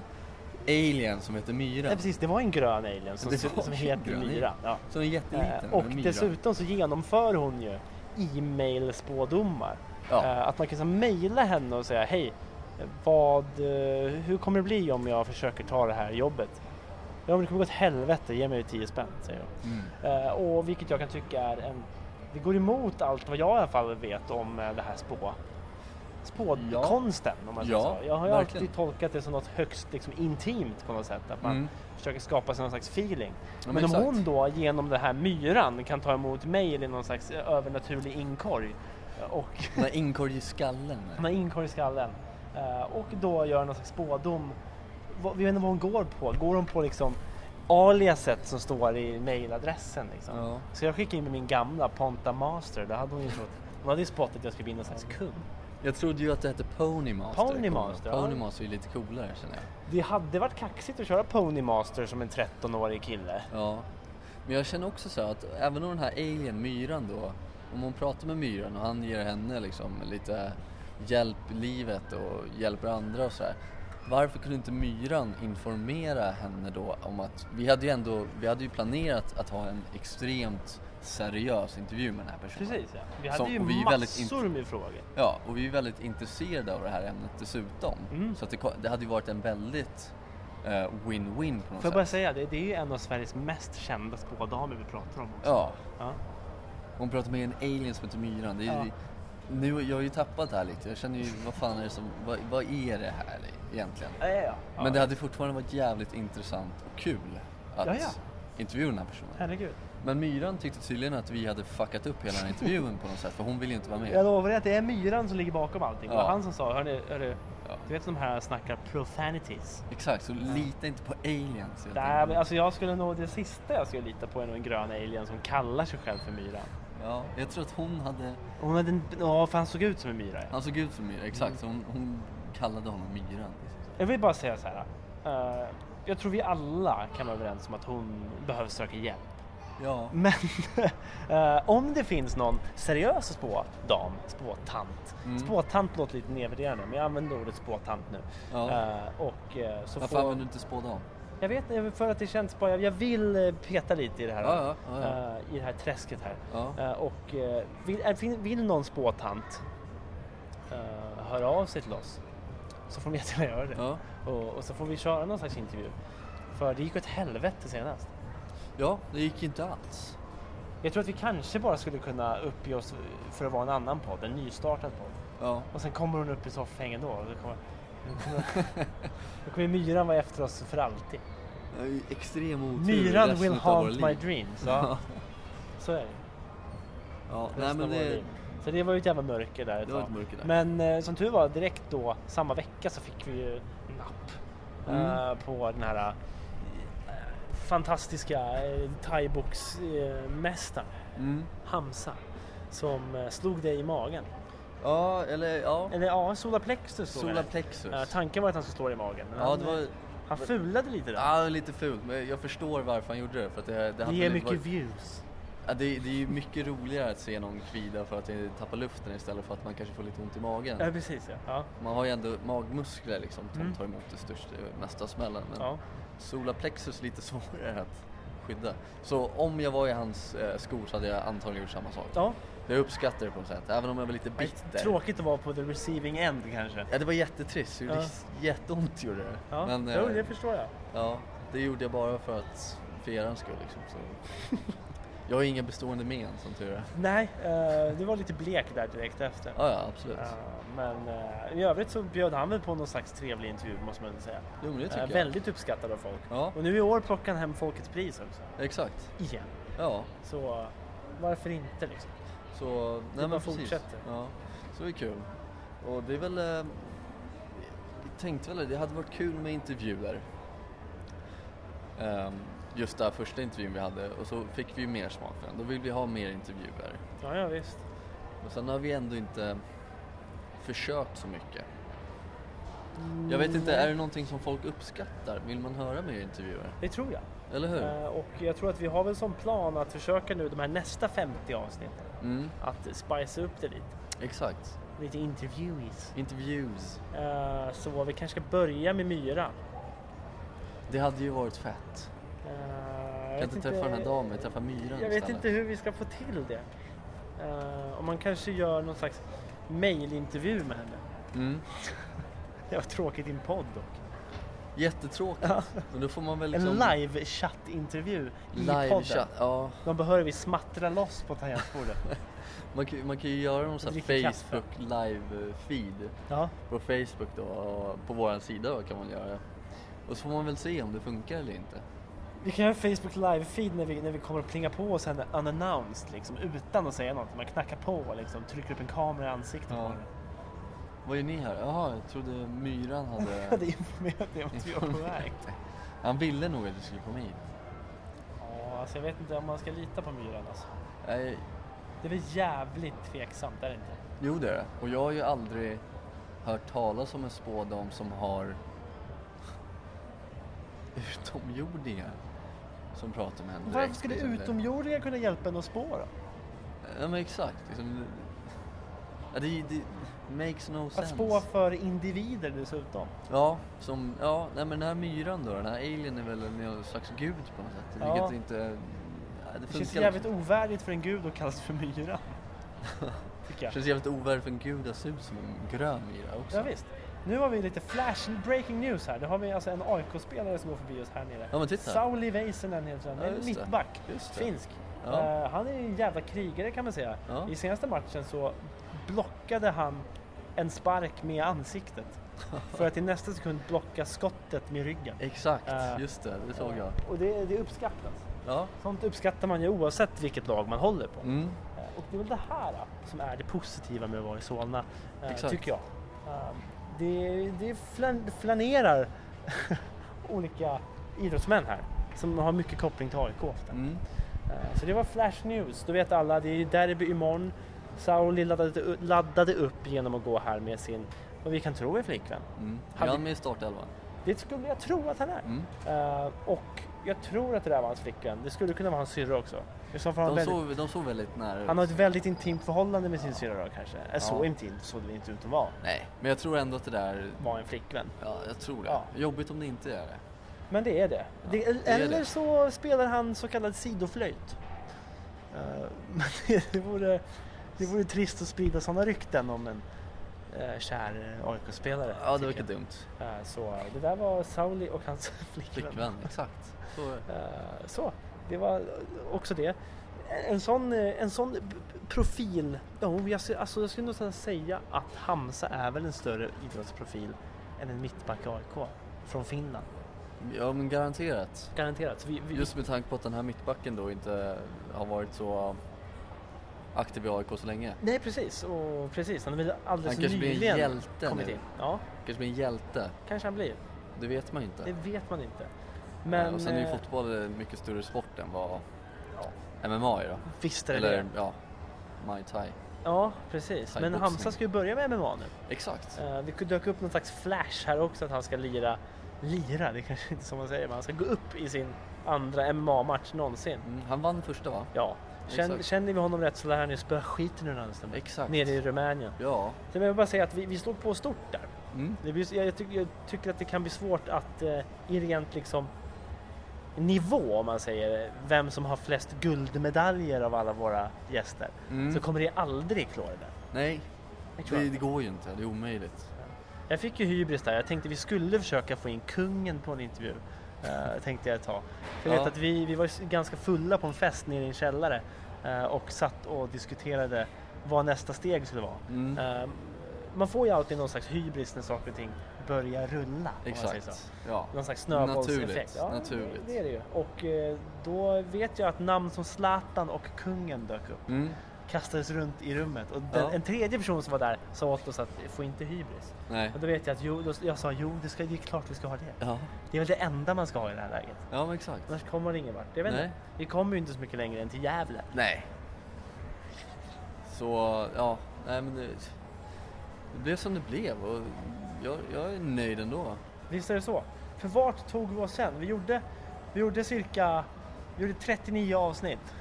[SPEAKER 2] alien som heter Myra.
[SPEAKER 1] Nej, precis, det var en grön alien som,
[SPEAKER 2] Det
[SPEAKER 1] ser-
[SPEAKER 2] var
[SPEAKER 1] som
[SPEAKER 2] en
[SPEAKER 1] heter
[SPEAKER 2] grön alien.
[SPEAKER 1] Myra. Ja.
[SPEAKER 2] Som är jätteliten.
[SPEAKER 1] Eh, och
[SPEAKER 2] men Myra.
[SPEAKER 1] dessutom så genomför hon ju e-mail-spådomar.
[SPEAKER 2] Ja.
[SPEAKER 1] Eh, Att man kan så mejla henne och säga hej, vad, eh, hur kommer det bli om jag försöker ta det här jobbet? Ja, men det kommer gå åt helvete, ge mig 10 spänn, säger hon.
[SPEAKER 2] Mm.
[SPEAKER 1] Eh, Och vilket jag kan tycka är en... Det går emot allt vad jag i alla fall vet om eh, det här spå... Spåkonsten, om man säger
[SPEAKER 2] Ja,
[SPEAKER 1] så. Jag har ju
[SPEAKER 2] verkligen.
[SPEAKER 1] alltid tolkat det som något högst liksom, intimt på något sätt. Att man
[SPEAKER 2] Mm.
[SPEAKER 1] försöker skapa sig någon slags feeling.
[SPEAKER 2] Ja, men
[SPEAKER 1] men om
[SPEAKER 2] exakt.
[SPEAKER 1] hon då genom den här myran kan ta emot mig i någon slags eh, övernaturlig inkorg eh, och
[SPEAKER 2] Den här inkorg i skallen.
[SPEAKER 1] hon har inkorg i skallen eh, och då gör någon slags spådom. Vad- Vi vet inte vad hon går på. Går hon på liksom aliaset som står i mejladressen? Liksom?
[SPEAKER 2] Ja.
[SPEAKER 1] Så jag skickade in med min gamla Ponta Master. Där hade hon ju trott, hon hade ju spottat att jag skulle bli någon slags kung.
[SPEAKER 2] Jag trodde ju att det hette Pony Master.
[SPEAKER 1] Pony
[SPEAKER 2] Kommer du ihåg?
[SPEAKER 1] Master, ja.
[SPEAKER 2] Pony Master är ju lite coolare känner jag.
[SPEAKER 1] Det hade varit kaxigt att köra Pony Master som en 13-årig kille.
[SPEAKER 2] Ja. Men jag känner också så här att även om den här alien, myran då, om hon pratar med myran och han ger henne liksom lite hjälp i livet och hjälper andra och sådär. Varför kunde inte myran informera henne då om att vi hade ju ändå, vi hade ju planerat att ha en extremt seriös intervju med den här personen.
[SPEAKER 1] Precis ja. Vi
[SPEAKER 2] Som-
[SPEAKER 1] hade ju
[SPEAKER 2] och vi är väldigt int-
[SPEAKER 1] massor med frågor.
[SPEAKER 2] Ja, och vi är väldigt intresserade av det här ämnet dessutom.
[SPEAKER 1] Mm.
[SPEAKER 2] Så att det, ko- det hade ju varit en väldigt eh, win-win på något
[SPEAKER 1] Får jag
[SPEAKER 2] sätt.
[SPEAKER 1] bara säga, det, det är ju en av Sveriges mest kända spådamer vi pratar om också.
[SPEAKER 2] Ja,
[SPEAKER 1] Ja.
[SPEAKER 2] hon pratar med en alien som heter Myran. Det är,
[SPEAKER 1] Ja.
[SPEAKER 2] nu, jag har ju tappat det här lite. Jag känner ju, vad fan är det som, vad, vad är det här egentligen?
[SPEAKER 1] Ja, ja, ja. ja.
[SPEAKER 2] Men det hade fortfarande varit jävligt intressant och kul att
[SPEAKER 1] Ja, ja.
[SPEAKER 2] intervjua den här personen.
[SPEAKER 1] Herregud.
[SPEAKER 2] Men Myran tyckte tydligen att vi hade fuckat upp hela den här intervjun på något sätt, för hon ville ju inte vara med.
[SPEAKER 1] Jag lovar dig att det är myran som ligger bakom allting. Det var
[SPEAKER 2] Ja.
[SPEAKER 1] han som sa, hörni, hörni
[SPEAKER 2] Ja.
[SPEAKER 1] du vet de här snackar profanities.
[SPEAKER 2] Exakt, så lita inte på aliens helt
[SPEAKER 1] Nej,
[SPEAKER 2] enkelt.
[SPEAKER 1] men alltså jag skulle nog, det sista jag skulle lita på är nog en grön alien som kallar sig själv för myran.
[SPEAKER 2] ja, Jag tror att hon hade,
[SPEAKER 1] Och Hon hade en, ja för han såg ut som en myra.
[SPEAKER 2] han såg ut som Myra, exakt. Så hon, hon kallade honom Myran.
[SPEAKER 1] Jag vill bara säga så här. eh, jag tror vi alla kan vara överens om att hon behöver söka hjälp.
[SPEAKER 2] Ja,
[SPEAKER 1] Men eh, om det finns någon seriös spådam, spåtant.
[SPEAKER 2] Mm.
[SPEAKER 1] Spåtant låter lite nedvärderande men jag använder ordet spåtant nu.
[SPEAKER 2] Ja.
[SPEAKER 1] Eh, och, eh, så
[SPEAKER 2] varför
[SPEAKER 1] får...
[SPEAKER 2] använder du inte spådam?
[SPEAKER 1] Jag vet inte, för att det känns bara, jag vill eh, peta lite i det här,
[SPEAKER 2] Ja, ja, ja, ja.
[SPEAKER 1] eh, I det här träsket här.
[SPEAKER 2] Ja.
[SPEAKER 1] Eh, och eh, vill, eh, fin- vill någon spåtant eh, höra av sig till oss så får de jättegärna göra det.
[SPEAKER 2] Ja.
[SPEAKER 1] Och, och så får vi köra någon slags intervju. För det gick åt helvete senast.
[SPEAKER 2] ja, det gick inte alls.
[SPEAKER 1] Jag tror att vi kanske bara skulle kunna uppge oss för att vara en annan podd, en nystartad podd.
[SPEAKER 2] Ja,
[SPEAKER 1] Och sen kommer hon upp i soffhängen då. Och då kommer, då kommer, då kommer myran vara efter oss för alltid.
[SPEAKER 2] det är ju extrem otur i
[SPEAKER 1] Myran
[SPEAKER 2] resten
[SPEAKER 1] will
[SPEAKER 2] av våra
[SPEAKER 1] haunt
[SPEAKER 2] liv.
[SPEAKER 1] my dreams. Ja.
[SPEAKER 2] Ja,
[SPEAKER 1] Så är det.
[SPEAKER 2] ja. nej
[SPEAKER 1] Resten
[SPEAKER 2] men
[SPEAKER 1] av våra
[SPEAKER 2] det,
[SPEAKER 1] liv. Så det var ju ett jävla mörker där ett
[SPEAKER 2] Det var
[SPEAKER 1] tag.
[SPEAKER 2] ett mörker där.
[SPEAKER 1] Men eh, som tur var, direkt då samma vecka så fick vi ju napp
[SPEAKER 2] Mm.
[SPEAKER 1] eh, på den här eh, fantastiska eh, thaiboxmästaren
[SPEAKER 2] Mm.
[SPEAKER 1] Hamza som eh, slog dig i magen.
[SPEAKER 2] Ja, eller ja.
[SPEAKER 1] Eller ja, solarplexus slog han.
[SPEAKER 2] Solarplexus.
[SPEAKER 1] Eh, Tanken var att han skulle slå dig i magen. Men
[SPEAKER 2] Ja,
[SPEAKER 1] han,
[SPEAKER 2] det
[SPEAKER 1] eh,
[SPEAKER 2] var
[SPEAKER 1] han fulade lite där.
[SPEAKER 2] ja, det var lite fult, men jag förstår varför han gjorde det. För att det, det, hade
[SPEAKER 1] det är
[SPEAKER 2] väl
[SPEAKER 1] mycket
[SPEAKER 2] varit-
[SPEAKER 1] views.
[SPEAKER 2] ja, det, det är ju mycket roligare att se någon kvida för att det tappar luften istället för att man kanske får lite ont i magen.
[SPEAKER 1] Ja, precis ja. ja.
[SPEAKER 2] Man har ju ändå magmuskler liksom som
[SPEAKER 1] Mm.
[SPEAKER 2] tar emot det största, mesta smällen. Men
[SPEAKER 1] ja.
[SPEAKER 2] solarplexus är lite svårare att skydda. Så om jag var i hans eh, skor så hade jag antagligen gjort samma sak.
[SPEAKER 1] ja.
[SPEAKER 2] Jag uppskattar det på något sätt, även om jag var lite bitter.
[SPEAKER 1] Tråkigt att vara på the receiving end kanske.
[SPEAKER 2] Ja, det var jättetrist. Det gjorde
[SPEAKER 1] Ja.
[SPEAKER 2] jätteont gjorde det.
[SPEAKER 1] Ja,
[SPEAKER 2] Men,
[SPEAKER 1] jo,
[SPEAKER 2] eh,
[SPEAKER 1] det förstår jag.
[SPEAKER 2] Ja, det gjorde jag bara för att för er skull liksom. Så. Jag har inga bestående men som tur är.
[SPEAKER 1] Nej, eh, du var lite blek där direkt efter.
[SPEAKER 2] Ja, ja absolut.
[SPEAKER 1] Eh, men eh, i övrigt så bjöd han väl på någon slags trevlig intervju måste man väl säga.
[SPEAKER 2] Jo, men det tycker
[SPEAKER 1] Eh,
[SPEAKER 2] jag.
[SPEAKER 1] Väldigt uppskattad av folk.
[SPEAKER 2] Ja,
[SPEAKER 1] Och nu i år plockar han hem Folkets pris också.
[SPEAKER 2] exakt.
[SPEAKER 1] Igen.
[SPEAKER 2] Ja,
[SPEAKER 1] Så eh, varför inte liksom?
[SPEAKER 2] så... Nej,
[SPEAKER 1] bara
[SPEAKER 2] men precis.
[SPEAKER 1] fortsätter.
[SPEAKER 2] Ja, så det är kul. Och det är väl... Eh, jag tänkte väl det hade varit kul med intervjuer. Ehm, just den här första intervjun vi hade och så fick vi ju mer smak för den. Då vill vi ha mer intervjuer.
[SPEAKER 1] Ja, ja visst.
[SPEAKER 2] Och sen har vi ändå inte försökt så mycket. Jag vet inte, är det någonting som folk uppskattar? Vill man höra mer intervjuer?
[SPEAKER 1] Mm, Det tror jag.
[SPEAKER 2] Eller hur?
[SPEAKER 1] Eh, och jag tror att vi har väl som plan att försöka nu de här nästa 50 avsnitten
[SPEAKER 2] Mm,
[SPEAKER 1] att spice upp det lite.
[SPEAKER 2] exakt.
[SPEAKER 1] Lite intervjuis.
[SPEAKER 2] Interviews.
[SPEAKER 1] Eh, så vi kanske ska börja med Myra.
[SPEAKER 2] Det hade ju varit fett.
[SPEAKER 1] Eh, jag
[SPEAKER 2] Kan
[SPEAKER 1] vet
[SPEAKER 2] inte träffa den här damen, träffa myran
[SPEAKER 1] Jag vet
[SPEAKER 2] istället.
[SPEAKER 1] inte hur vi ska få till det. Eh, om man kanske gör någon slags mailintervju med henne.
[SPEAKER 2] Mm.
[SPEAKER 1] Det var tråkigt i en podd dock.
[SPEAKER 2] Jättetråkigt. Men då får man väl liksom...
[SPEAKER 1] En live chatt-intervju i podden.
[SPEAKER 2] chat. Ja.
[SPEAKER 1] De behöver vi smattra loss på tangentbordet.
[SPEAKER 2] Man kan, man kan ju göra någon sån
[SPEAKER 1] Jag
[SPEAKER 2] här
[SPEAKER 1] dricker kaffe.
[SPEAKER 2] Facebook live feed.
[SPEAKER 1] ja.
[SPEAKER 2] På Facebook då, och på våran sida kan man göra. Och så får man väl se om det funkar eller inte.
[SPEAKER 1] Vi kan göra en Facebook live-feed när vi, när vi kommer att plinga på oss henne unannounced liksom, utan att säga något. Man knackar på och liksom, trycker upp en kamera i ansiktet på
[SPEAKER 2] Ja.
[SPEAKER 1] henne.
[SPEAKER 2] Vad är ni här? Jaha, jag trodde myran
[SPEAKER 1] Jag
[SPEAKER 2] hade...
[SPEAKER 1] hade informerat mig om att vi var på väg.
[SPEAKER 2] Han ville nog att du skulle komma hit.
[SPEAKER 1] Ja, alltså, jag vet inte om man ska lita på myran alltså.
[SPEAKER 2] Nej,
[SPEAKER 1] Det är väl jävligt tveksamt, är det inte?
[SPEAKER 2] jo det är det. Och jag har ju aldrig hört talas om en spådam som har utomjordingar som pratar med henne
[SPEAKER 1] Varför
[SPEAKER 2] direkt,
[SPEAKER 1] skulle
[SPEAKER 2] liksom.
[SPEAKER 1] utomjordingar kunna hjälpa en att spå då?
[SPEAKER 2] Ja men exakt. Liksom, ja, det, det makes no
[SPEAKER 1] Att
[SPEAKER 2] sense.
[SPEAKER 1] spå för individer dessutom.
[SPEAKER 2] Ja, som, ja, nej men den här myran då, den här alien är väl någon slags gud på något sätt.
[SPEAKER 1] Ja.
[SPEAKER 2] Vilket inte... ja,
[SPEAKER 1] Det
[SPEAKER 2] funkar
[SPEAKER 1] känns
[SPEAKER 2] liksom.
[SPEAKER 1] jävligt ovärdigt för en gud att kallas för myra. Tycker jag.
[SPEAKER 2] känns jävligt ovärdigt för en gud att se ut som en grön myra också.
[SPEAKER 1] Ja, visst. Nu har vi lite flash breaking news här. Nu har vi alltså en AIK-spelare som går förbi oss här nere.
[SPEAKER 2] Ja, men titta.
[SPEAKER 1] Sauli Väisänen heter han.
[SPEAKER 2] Ja,
[SPEAKER 1] En
[SPEAKER 2] just det.
[SPEAKER 1] mittback.
[SPEAKER 2] Just det.
[SPEAKER 1] Finsk.
[SPEAKER 2] Ja.
[SPEAKER 1] Eh, han är en jävla krigare kan man säga.
[SPEAKER 2] Ja.
[SPEAKER 1] I senaste matchen så blockade han en spark med ansiktet. För att i nästa sekund blocka skottet med ryggen.
[SPEAKER 2] Exakt,
[SPEAKER 1] Eh,
[SPEAKER 2] just det. Det såg jag.
[SPEAKER 1] Och det, det uppskattas.
[SPEAKER 2] Ja.
[SPEAKER 1] Sånt uppskattar man ju oavsett vilket lag man håller på.
[SPEAKER 2] Mm.
[SPEAKER 1] Eh, Och det är väl det här eh, som är det positiva med att vara i Solna, eh,
[SPEAKER 2] Exakt.
[SPEAKER 1] tycker jag. Eh, Det, det flan, flanerar olika idrottsmän här som har mycket koppling till AIK ofta.
[SPEAKER 2] Mm.
[SPEAKER 1] Eh, Så det var Flash News, då vet alla, det är ju derby imorgon. Sauli laddade, u- laddade upp genom att gå här med sin, vad vi kan tro är flickvän.
[SPEAKER 2] Mm.
[SPEAKER 1] Hade-
[SPEAKER 2] Är han med i startelvan?
[SPEAKER 1] Det skulle jag tro att han är.
[SPEAKER 2] Mm.
[SPEAKER 1] Eh, Och jag tror att det där var hans flickvän, det skulle kunna vara hans syrra också. I så fall har han
[SPEAKER 2] De,
[SPEAKER 1] väldigt-
[SPEAKER 2] såg, de såg väldigt nära
[SPEAKER 1] Han
[SPEAKER 2] ut.
[SPEAKER 1] har ett väldigt intimt förhållande med sin syrra då kanske. Ja. Så
[SPEAKER 2] Ja.
[SPEAKER 1] intimt såg det inte ut att vara.
[SPEAKER 2] Nej, men jag tror ändå att det där...
[SPEAKER 1] Var en flickvän.
[SPEAKER 2] Ja, jag tror det.
[SPEAKER 1] Ja.
[SPEAKER 2] Jobbigt om det inte är det.
[SPEAKER 1] Men det är det. det
[SPEAKER 2] det är
[SPEAKER 1] eller
[SPEAKER 2] det.
[SPEAKER 1] så spelar han så kallad sidoflöjt. Eh, Men det, det, vore, det vore trist att sprida sådana rykten om en uh, kär eh, AIK-spelare.
[SPEAKER 2] Ja, det
[SPEAKER 1] tycker
[SPEAKER 2] verkar
[SPEAKER 1] jag.
[SPEAKER 2] dumt.
[SPEAKER 1] Eh, så eh, det där var Sauli och hans flickvän.
[SPEAKER 2] Flickvän, exakt. Så är det.
[SPEAKER 1] Eh, så, det var också det. En sån, eh, en sån b- b- profil, jo, jag, skulle- alltså, jag skulle nog säga att Hamza är väl en större idrottsprofil än en mittback i AIK från Finland.
[SPEAKER 2] Ja, men garanterat.
[SPEAKER 1] Garanterat. Så vi, vi,
[SPEAKER 2] Just med tanke på att den här mittbacken då inte har varit så aktiv i AIK så länge.
[SPEAKER 1] Nej precis, och precis. Han är väl
[SPEAKER 2] Han
[SPEAKER 1] alldeles
[SPEAKER 2] kanske blir en
[SPEAKER 1] nyligen
[SPEAKER 2] hjälte
[SPEAKER 1] kommit
[SPEAKER 2] nu.
[SPEAKER 1] in. Ja,
[SPEAKER 2] Kanske blir en hjälte,
[SPEAKER 1] kanske han blir.
[SPEAKER 2] det vet man ju inte.
[SPEAKER 1] Det vet man inte.
[SPEAKER 2] Eh,
[SPEAKER 1] Men
[SPEAKER 2] och sen är ju
[SPEAKER 1] eh,
[SPEAKER 2] fotboll en mycket större sport än vad
[SPEAKER 1] Ja.
[SPEAKER 2] MMA är då.
[SPEAKER 1] visst är det
[SPEAKER 2] Eller
[SPEAKER 1] det.
[SPEAKER 2] ja, Muay Thai.
[SPEAKER 1] Ja, precis. Men
[SPEAKER 2] Thaiboxning.
[SPEAKER 1] Hamza ska ju börja med MMA nu.
[SPEAKER 2] Exakt.
[SPEAKER 1] Eh, Det dök upp någon slags flash här också att han ska lira, lira, det kanske inte är som man säger, men han ska gå upp i sin andra MMA-match någonsin.
[SPEAKER 2] Mm, han vann första va?
[SPEAKER 1] Ja, Känn,
[SPEAKER 2] Exakt.
[SPEAKER 1] känner vi honom rätt så lär han ju spöa skiten ur honom
[SPEAKER 2] Exakt.
[SPEAKER 1] nere i Rumänien.
[SPEAKER 2] Ja.
[SPEAKER 1] Så jag vill bara säga att vi, vi slog på stort där.
[SPEAKER 2] Mm.
[SPEAKER 1] Det blir, jag, jag, tycker- jag tycker att det kan bli svårt att eh, i rent liksom nivå om man säger vem som har flest guldmedaljer av alla våra gäster
[SPEAKER 2] Mm.
[SPEAKER 1] så kommer det aldrig klara det.
[SPEAKER 2] Nej,
[SPEAKER 1] Jag tror
[SPEAKER 2] det,
[SPEAKER 1] jag.
[SPEAKER 2] det går ju inte. Det är omöjligt.
[SPEAKER 1] Jag fick ju hybris där. Jag tänkte vi skulle försöka få in kungen på en intervju. eh, tänkte jag ta. För jag
[SPEAKER 2] Ja.
[SPEAKER 1] vet att vi, vi var ju ganska fulla på en fest nere i en källare eh, och satt och diskuterade vad nästa steg skulle vara.
[SPEAKER 2] Mm.
[SPEAKER 1] Eh, man får ju alltid någon slags hybris när saker och ting börjar rulla. om man säger så.
[SPEAKER 2] Exakt. Ja.
[SPEAKER 1] Någon slags
[SPEAKER 2] Naturligt,
[SPEAKER 1] snöbollseffekt.
[SPEAKER 2] naturligt.
[SPEAKER 1] Det är det ju. Och eh, då vet jag att namn som Zlatan och kungen dök upp.
[SPEAKER 2] Mm.
[SPEAKER 1] Kastades runt i rummet. Och den,
[SPEAKER 2] Ja.
[SPEAKER 1] en tredje person som var där sa åt oss att få inte hybris.
[SPEAKER 2] Nej.
[SPEAKER 1] Och då vet jag att jo, då, jag sa jo, det, ska, det är klart vi ska ha det.
[SPEAKER 2] Ja.
[SPEAKER 1] Det är väl det enda man ska ha i det här läget.
[SPEAKER 2] ja, men exakt.
[SPEAKER 1] Annars kommer man ingen vart. Jag vet
[SPEAKER 2] Nej.
[SPEAKER 1] inte. Vi kommer ju inte så mycket längre än till Gävle.
[SPEAKER 2] Nej. Så, ja. Nej, men det, det blev som det blev och jag, jag är nöjd ändå.
[SPEAKER 1] Visst är det så? För vart tog vi oss sen? Vi gjorde, vi gjorde cirka vi gjorde 39 avsnitt.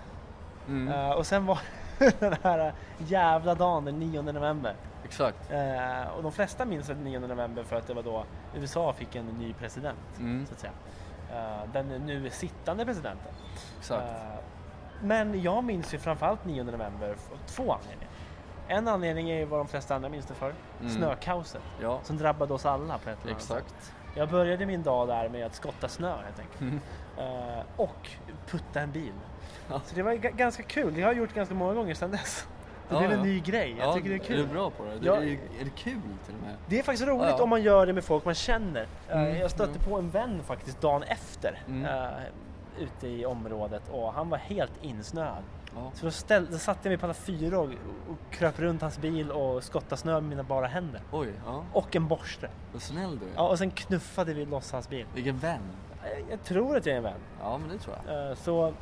[SPEAKER 2] Mm.
[SPEAKER 1] Eh, och sen var den här jävla dagen den 9 november.
[SPEAKER 2] Exakt.
[SPEAKER 1] Eh, och de flesta minns den 9 november för att det var då USA fick en ny president.
[SPEAKER 2] Mm.
[SPEAKER 1] Så att säga. Eh, den nu sittande presidenten.
[SPEAKER 2] Exakt.
[SPEAKER 1] Eh, Men jag minns ju framförallt 9 november av två anledningar. En anledning är ju vad de flesta andra minns det för.
[SPEAKER 2] Mm.
[SPEAKER 1] Snökaoset
[SPEAKER 2] Ja,
[SPEAKER 1] som drabbade oss alla på ett eller annat sätt.
[SPEAKER 2] exakt.
[SPEAKER 1] Jag började min dag där med att skotta snö helt enkelt. Eh, och putta en bil.
[SPEAKER 2] Ja.
[SPEAKER 1] Så det var ga- ganska kul. Det har jag gjort ganska många gånger sedan dess. Det
[SPEAKER 2] Ja,
[SPEAKER 1] blev en
[SPEAKER 2] ja.
[SPEAKER 1] ny grej. Jag
[SPEAKER 2] ja,
[SPEAKER 1] tycker det är kul.
[SPEAKER 2] Är du bra på det? det
[SPEAKER 1] Ja.
[SPEAKER 2] är, är det kul till och med?
[SPEAKER 1] Det är faktiskt roligt
[SPEAKER 2] Ja, ja.
[SPEAKER 1] om man gör det med folk man känner. Eh,
[SPEAKER 2] Mm,
[SPEAKER 1] Jag stötte
[SPEAKER 2] mm.
[SPEAKER 1] på en vän faktiskt dagen efter
[SPEAKER 2] Mm.
[SPEAKER 1] eh, ute i området och han var helt insnöad.
[SPEAKER 2] Ja.
[SPEAKER 1] Så då, ställ, då satte jag mig på alla fyra och, och kröp runt hans bil och skottade snö med mina bara händer.
[SPEAKER 2] Oj, ja.
[SPEAKER 1] Och en borste.
[SPEAKER 2] Vad snäll du är.
[SPEAKER 1] Ja, och sen knuffade vi loss hans bil.
[SPEAKER 2] Vilken vän.
[SPEAKER 1] Jag, jag tror att jag är en vän.
[SPEAKER 2] Ja, men det tror jag.
[SPEAKER 1] Eh, Så,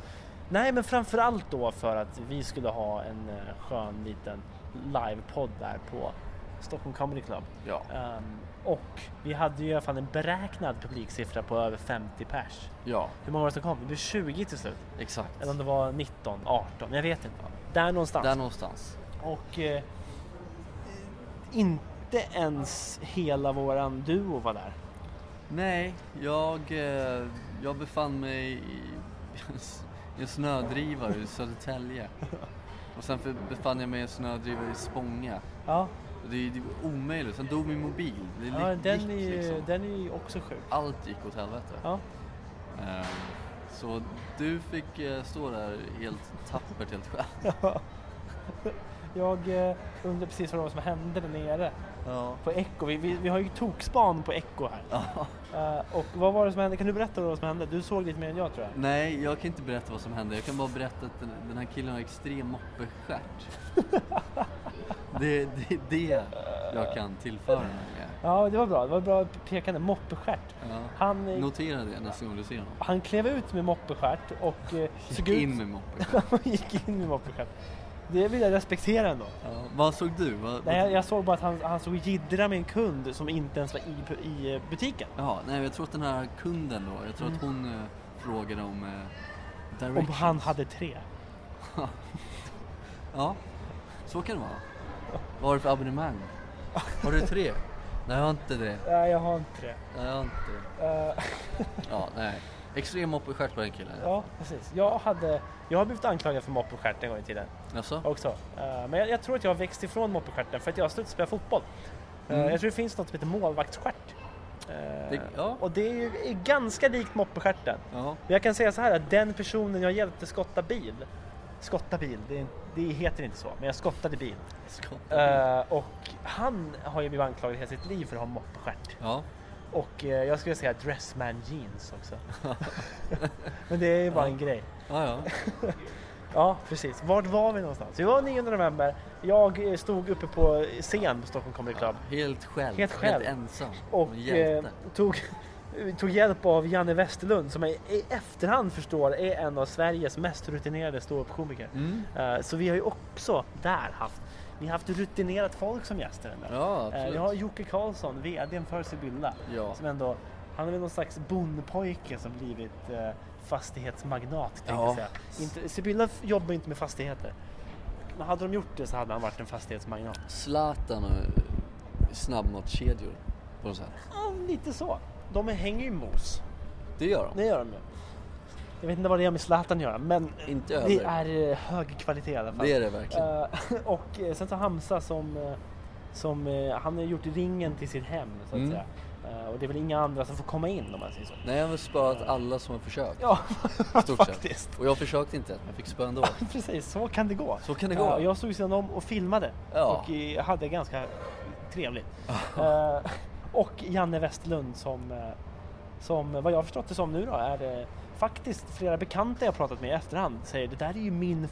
[SPEAKER 1] nej, men framförallt då för att vi skulle ha en eh, skön liten livepodd där på Stockholm Comedy Club.
[SPEAKER 2] Ja,
[SPEAKER 1] Ehm, och vi hade ju i alla fall en beräknad publiksiffra på över 50 pers.
[SPEAKER 2] ja
[SPEAKER 1] Hur många var det som kom? Det blev 20 till slut.
[SPEAKER 2] exakt.
[SPEAKER 1] Eller om det var 19, 18, jag vet inte. Där någonstans.
[SPEAKER 2] Där någonstans.
[SPEAKER 1] Och eh, inte ens hela våran duo var där.
[SPEAKER 2] Nej, jag, eh, jag befann mig i i en snödrivare i Södertälje. Och sen för- befann jag mig i en snödrivare i Spånga.
[SPEAKER 1] Ja,
[SPEAKER 2] Och Det, är- det var omöjligt. Sen dog min mobil. Det li-
[SPEAKER 1] ja den,
[SPEAKER 2] gick
[SPEAKER 1] är ju,
[SPEAKER 2] liksom.
[SPEAKER 1] den är ju också sjuk.
[SPEAKER 2] Allt gick åt helvete.
[SPEAKER 1] Ja.
[SPEAKER 2] Ehm, Så du fick eh, stå där helt tappert, helt själv.
[SPEAKER 1] Jag eh, undrar precis vad det var som hände där nere
[SPEAKER 2] Ja.
[SPEAKER 1] på Echo. Vi, vi, vi har ju tokspan på Echo här.
[SPEAKER 2] Ja.
[SPEAKER 1] Eh, och vad var det som hände? Kan du berätta vad det var som hände? Du såg lite mer än jag tror jag.
[SPEAKER 2] Nej, jag kan inte berätta vad som hände. Jag kan bara berätta att den, den här killen har extrem moppestjärt. det, det är det jag kan tillföra honom med.
[SPEAKER 1] Ja, det var bra. Det var bra pekande. Moppestjärt.
[SPEAKER 2] Ja.
[SPEAKER 1] Han, eh,
[SPEAKER 2] Notera det nästa gång du ser honom.
[SPEAKER 1] han klev ut med moppestjärt och eh,
[SPEAKER 2] Gick
[SPEAKER 1] såg ut...
[SPEAKER 2] in med moppestjärt.
[SPEAKER 1] Han gick in med moppestjärt. Det vill jag respektera ändå.
[SPEAKER 2] Ja. Vad såg du? Vad,
[SPEAKER 1] Nej, jag, jag såg bara att han, han såg jiddra med en kund som inte ens var i, i eh, butiken.
[SPEAKER 2] Jaha, nej, jag tror att den här kunden då, jag tror att hon eh, frågade om eh,
[SPEAKER 1] Mm. Om
[SPEAKER 2] directions.
[SPEAKER 1] han hade tre.
[SPEAKER 2] Ja, så kan det vara. Vad har du för abonnemang? Har du tre? Nej, jag har inte det.
[SPEAKER 1] Nej, jag har inte det.
[SPEAKER 2] Nej, jag har inte det.
[SPEAKER 1] Eh,
[SPEAKER 2] Ja, nej. Extrem moppestjärt på den killen.
[SPEAKER 1] ja, precis. Jag, hade, jag har blivit anklagad för moppestjärt en gång i tiden
[SPEAKER 2] Jaså?
[SPEAKER 1] också. Eh, men jag, jag tror att jag har växt ifrån moppestjärten för att jag har slutat spela fotboll. Eh,
[SPEAKER 2] Mm.
[SPEAKER 1] Jag tror det finns något som heter målvaktsstjärt. Eh,
[SPEAKER 2] Det- ja.
[SPEAKER 1] Och det är ju är ganska likt moppestjärten.
[SPEAKER 2] Ja.
[SPEAKER 1] Men Jag kan säga så här att den personen jag hjälpte skotta bil, skotta bil, det, det heter inte så, men jag skottade bil.
[SPEAKER 2] Skott.
[SPEAKER 1] Eh, och han har ju blivit anklagad hela sitt liv för att ha moppestjärt.
[SPEAKER 2] Ja.
[SPEAKER 1] Och eh, jag skulle säga dressman jeans också. Men det är ju bara en grej.
[SPEAKER 2] Ja, ja.
[SPEAKER 1] Ja, precis. Vart var vi någonstans? Vi var 9 november. Jag eh, stod uppe på scen på Stockholm Comedy Club
[SPEAKER 2] Helt själv.
[SPEAKER 1] Helt själv.
[SPEAKER 2] ensam.
[SPEAKER 1] och
[SPEAKER 2] En
[SPEAKER 1] eh,
[SPEAKER 2] hjälte.
[SPEAKER 1] tog, tog hjälp av Janne Westerlund som jag i efterhand förstår är en av Sveriges mest rutinerade ståuppkomiker.
[SPEAKER 2] Mm.
[SPEAKER 1] Eh, Så vi har ju också där haft, vi har haft rutinerat folk som gäster. ändå.
[SPEAKER 2] Ja,
[SPEAKER 1] Eh,
[SPEAKER 2] absolut.
[SPEAKER 1] Vi har Jocke Karlsson, VDn för Sibylla.
[SPEAKER 2] Ja.
[SPEAKER 1] Som ändå, han är väl någon slags bondpojke som blivit eh, fastighetsmagnat. tänkte
[SPEAKER 2] Ja.
[SPEAKER 1] jag säga. Inte, Sibylla f- jobbar inte med fastigheter. Men hade de gjort det så hade han varit en fastighetsmagnat.
[SPEAKER 2] Zlatan och eh, snabbmatskedjor på något sätt.
[SPEAKER 1] Ja, lite så. De hänger ju mos.
[SPEAKER 2] Det gör de.
[SPEAKER 1] Det gör de ju. Jag vet inte vad det har med Zlatan att göra men
[SPEAKER 2] Inte
[SPEAKER 1] det
[SPEAKER 2] över.
[SPEAKER 1] är eh, hög kvalitet i alla fall.
[SPEAKER 2] Det är det verkligen.
[SPEAKER 1] Eh, och eh, sen så Hamza som, eh, som eh, han har gjort ringen till sitt hem så att
[SPEAKER 2] Mm.
[SPEAKER 1] säga. Eh, och det är väl inga andra som får komma in om man säger så.
[SPEAKER 2] Nej, jag har väl spöat alla som har försökt.
[SPEAKER 1] Ja,
[SPEAKER 2] i stort sett.
[SPEAKER 1] faktiskt.
[SPEAKER 2] Och jag försökte inte, men jag fick spö ändå.
[SPEAKER 1] Precis, så kan det gå.
[SPEAKER 2] Så kan det
[SPEAKER 1] Ja,
[SPEAKER 2] gå.
[SPEAKER 1] jag stod vid sidan om och filmade
[SPEAKER 2] Ja.
[SPEAKER 1] och eh, hade ganska trevligt. Eh, och Janne Westerlund som, eh, som vad jag har förstått det som nu då är eh, faktiskt flera bekanta jag pratat med i efterhand säger det där är ju min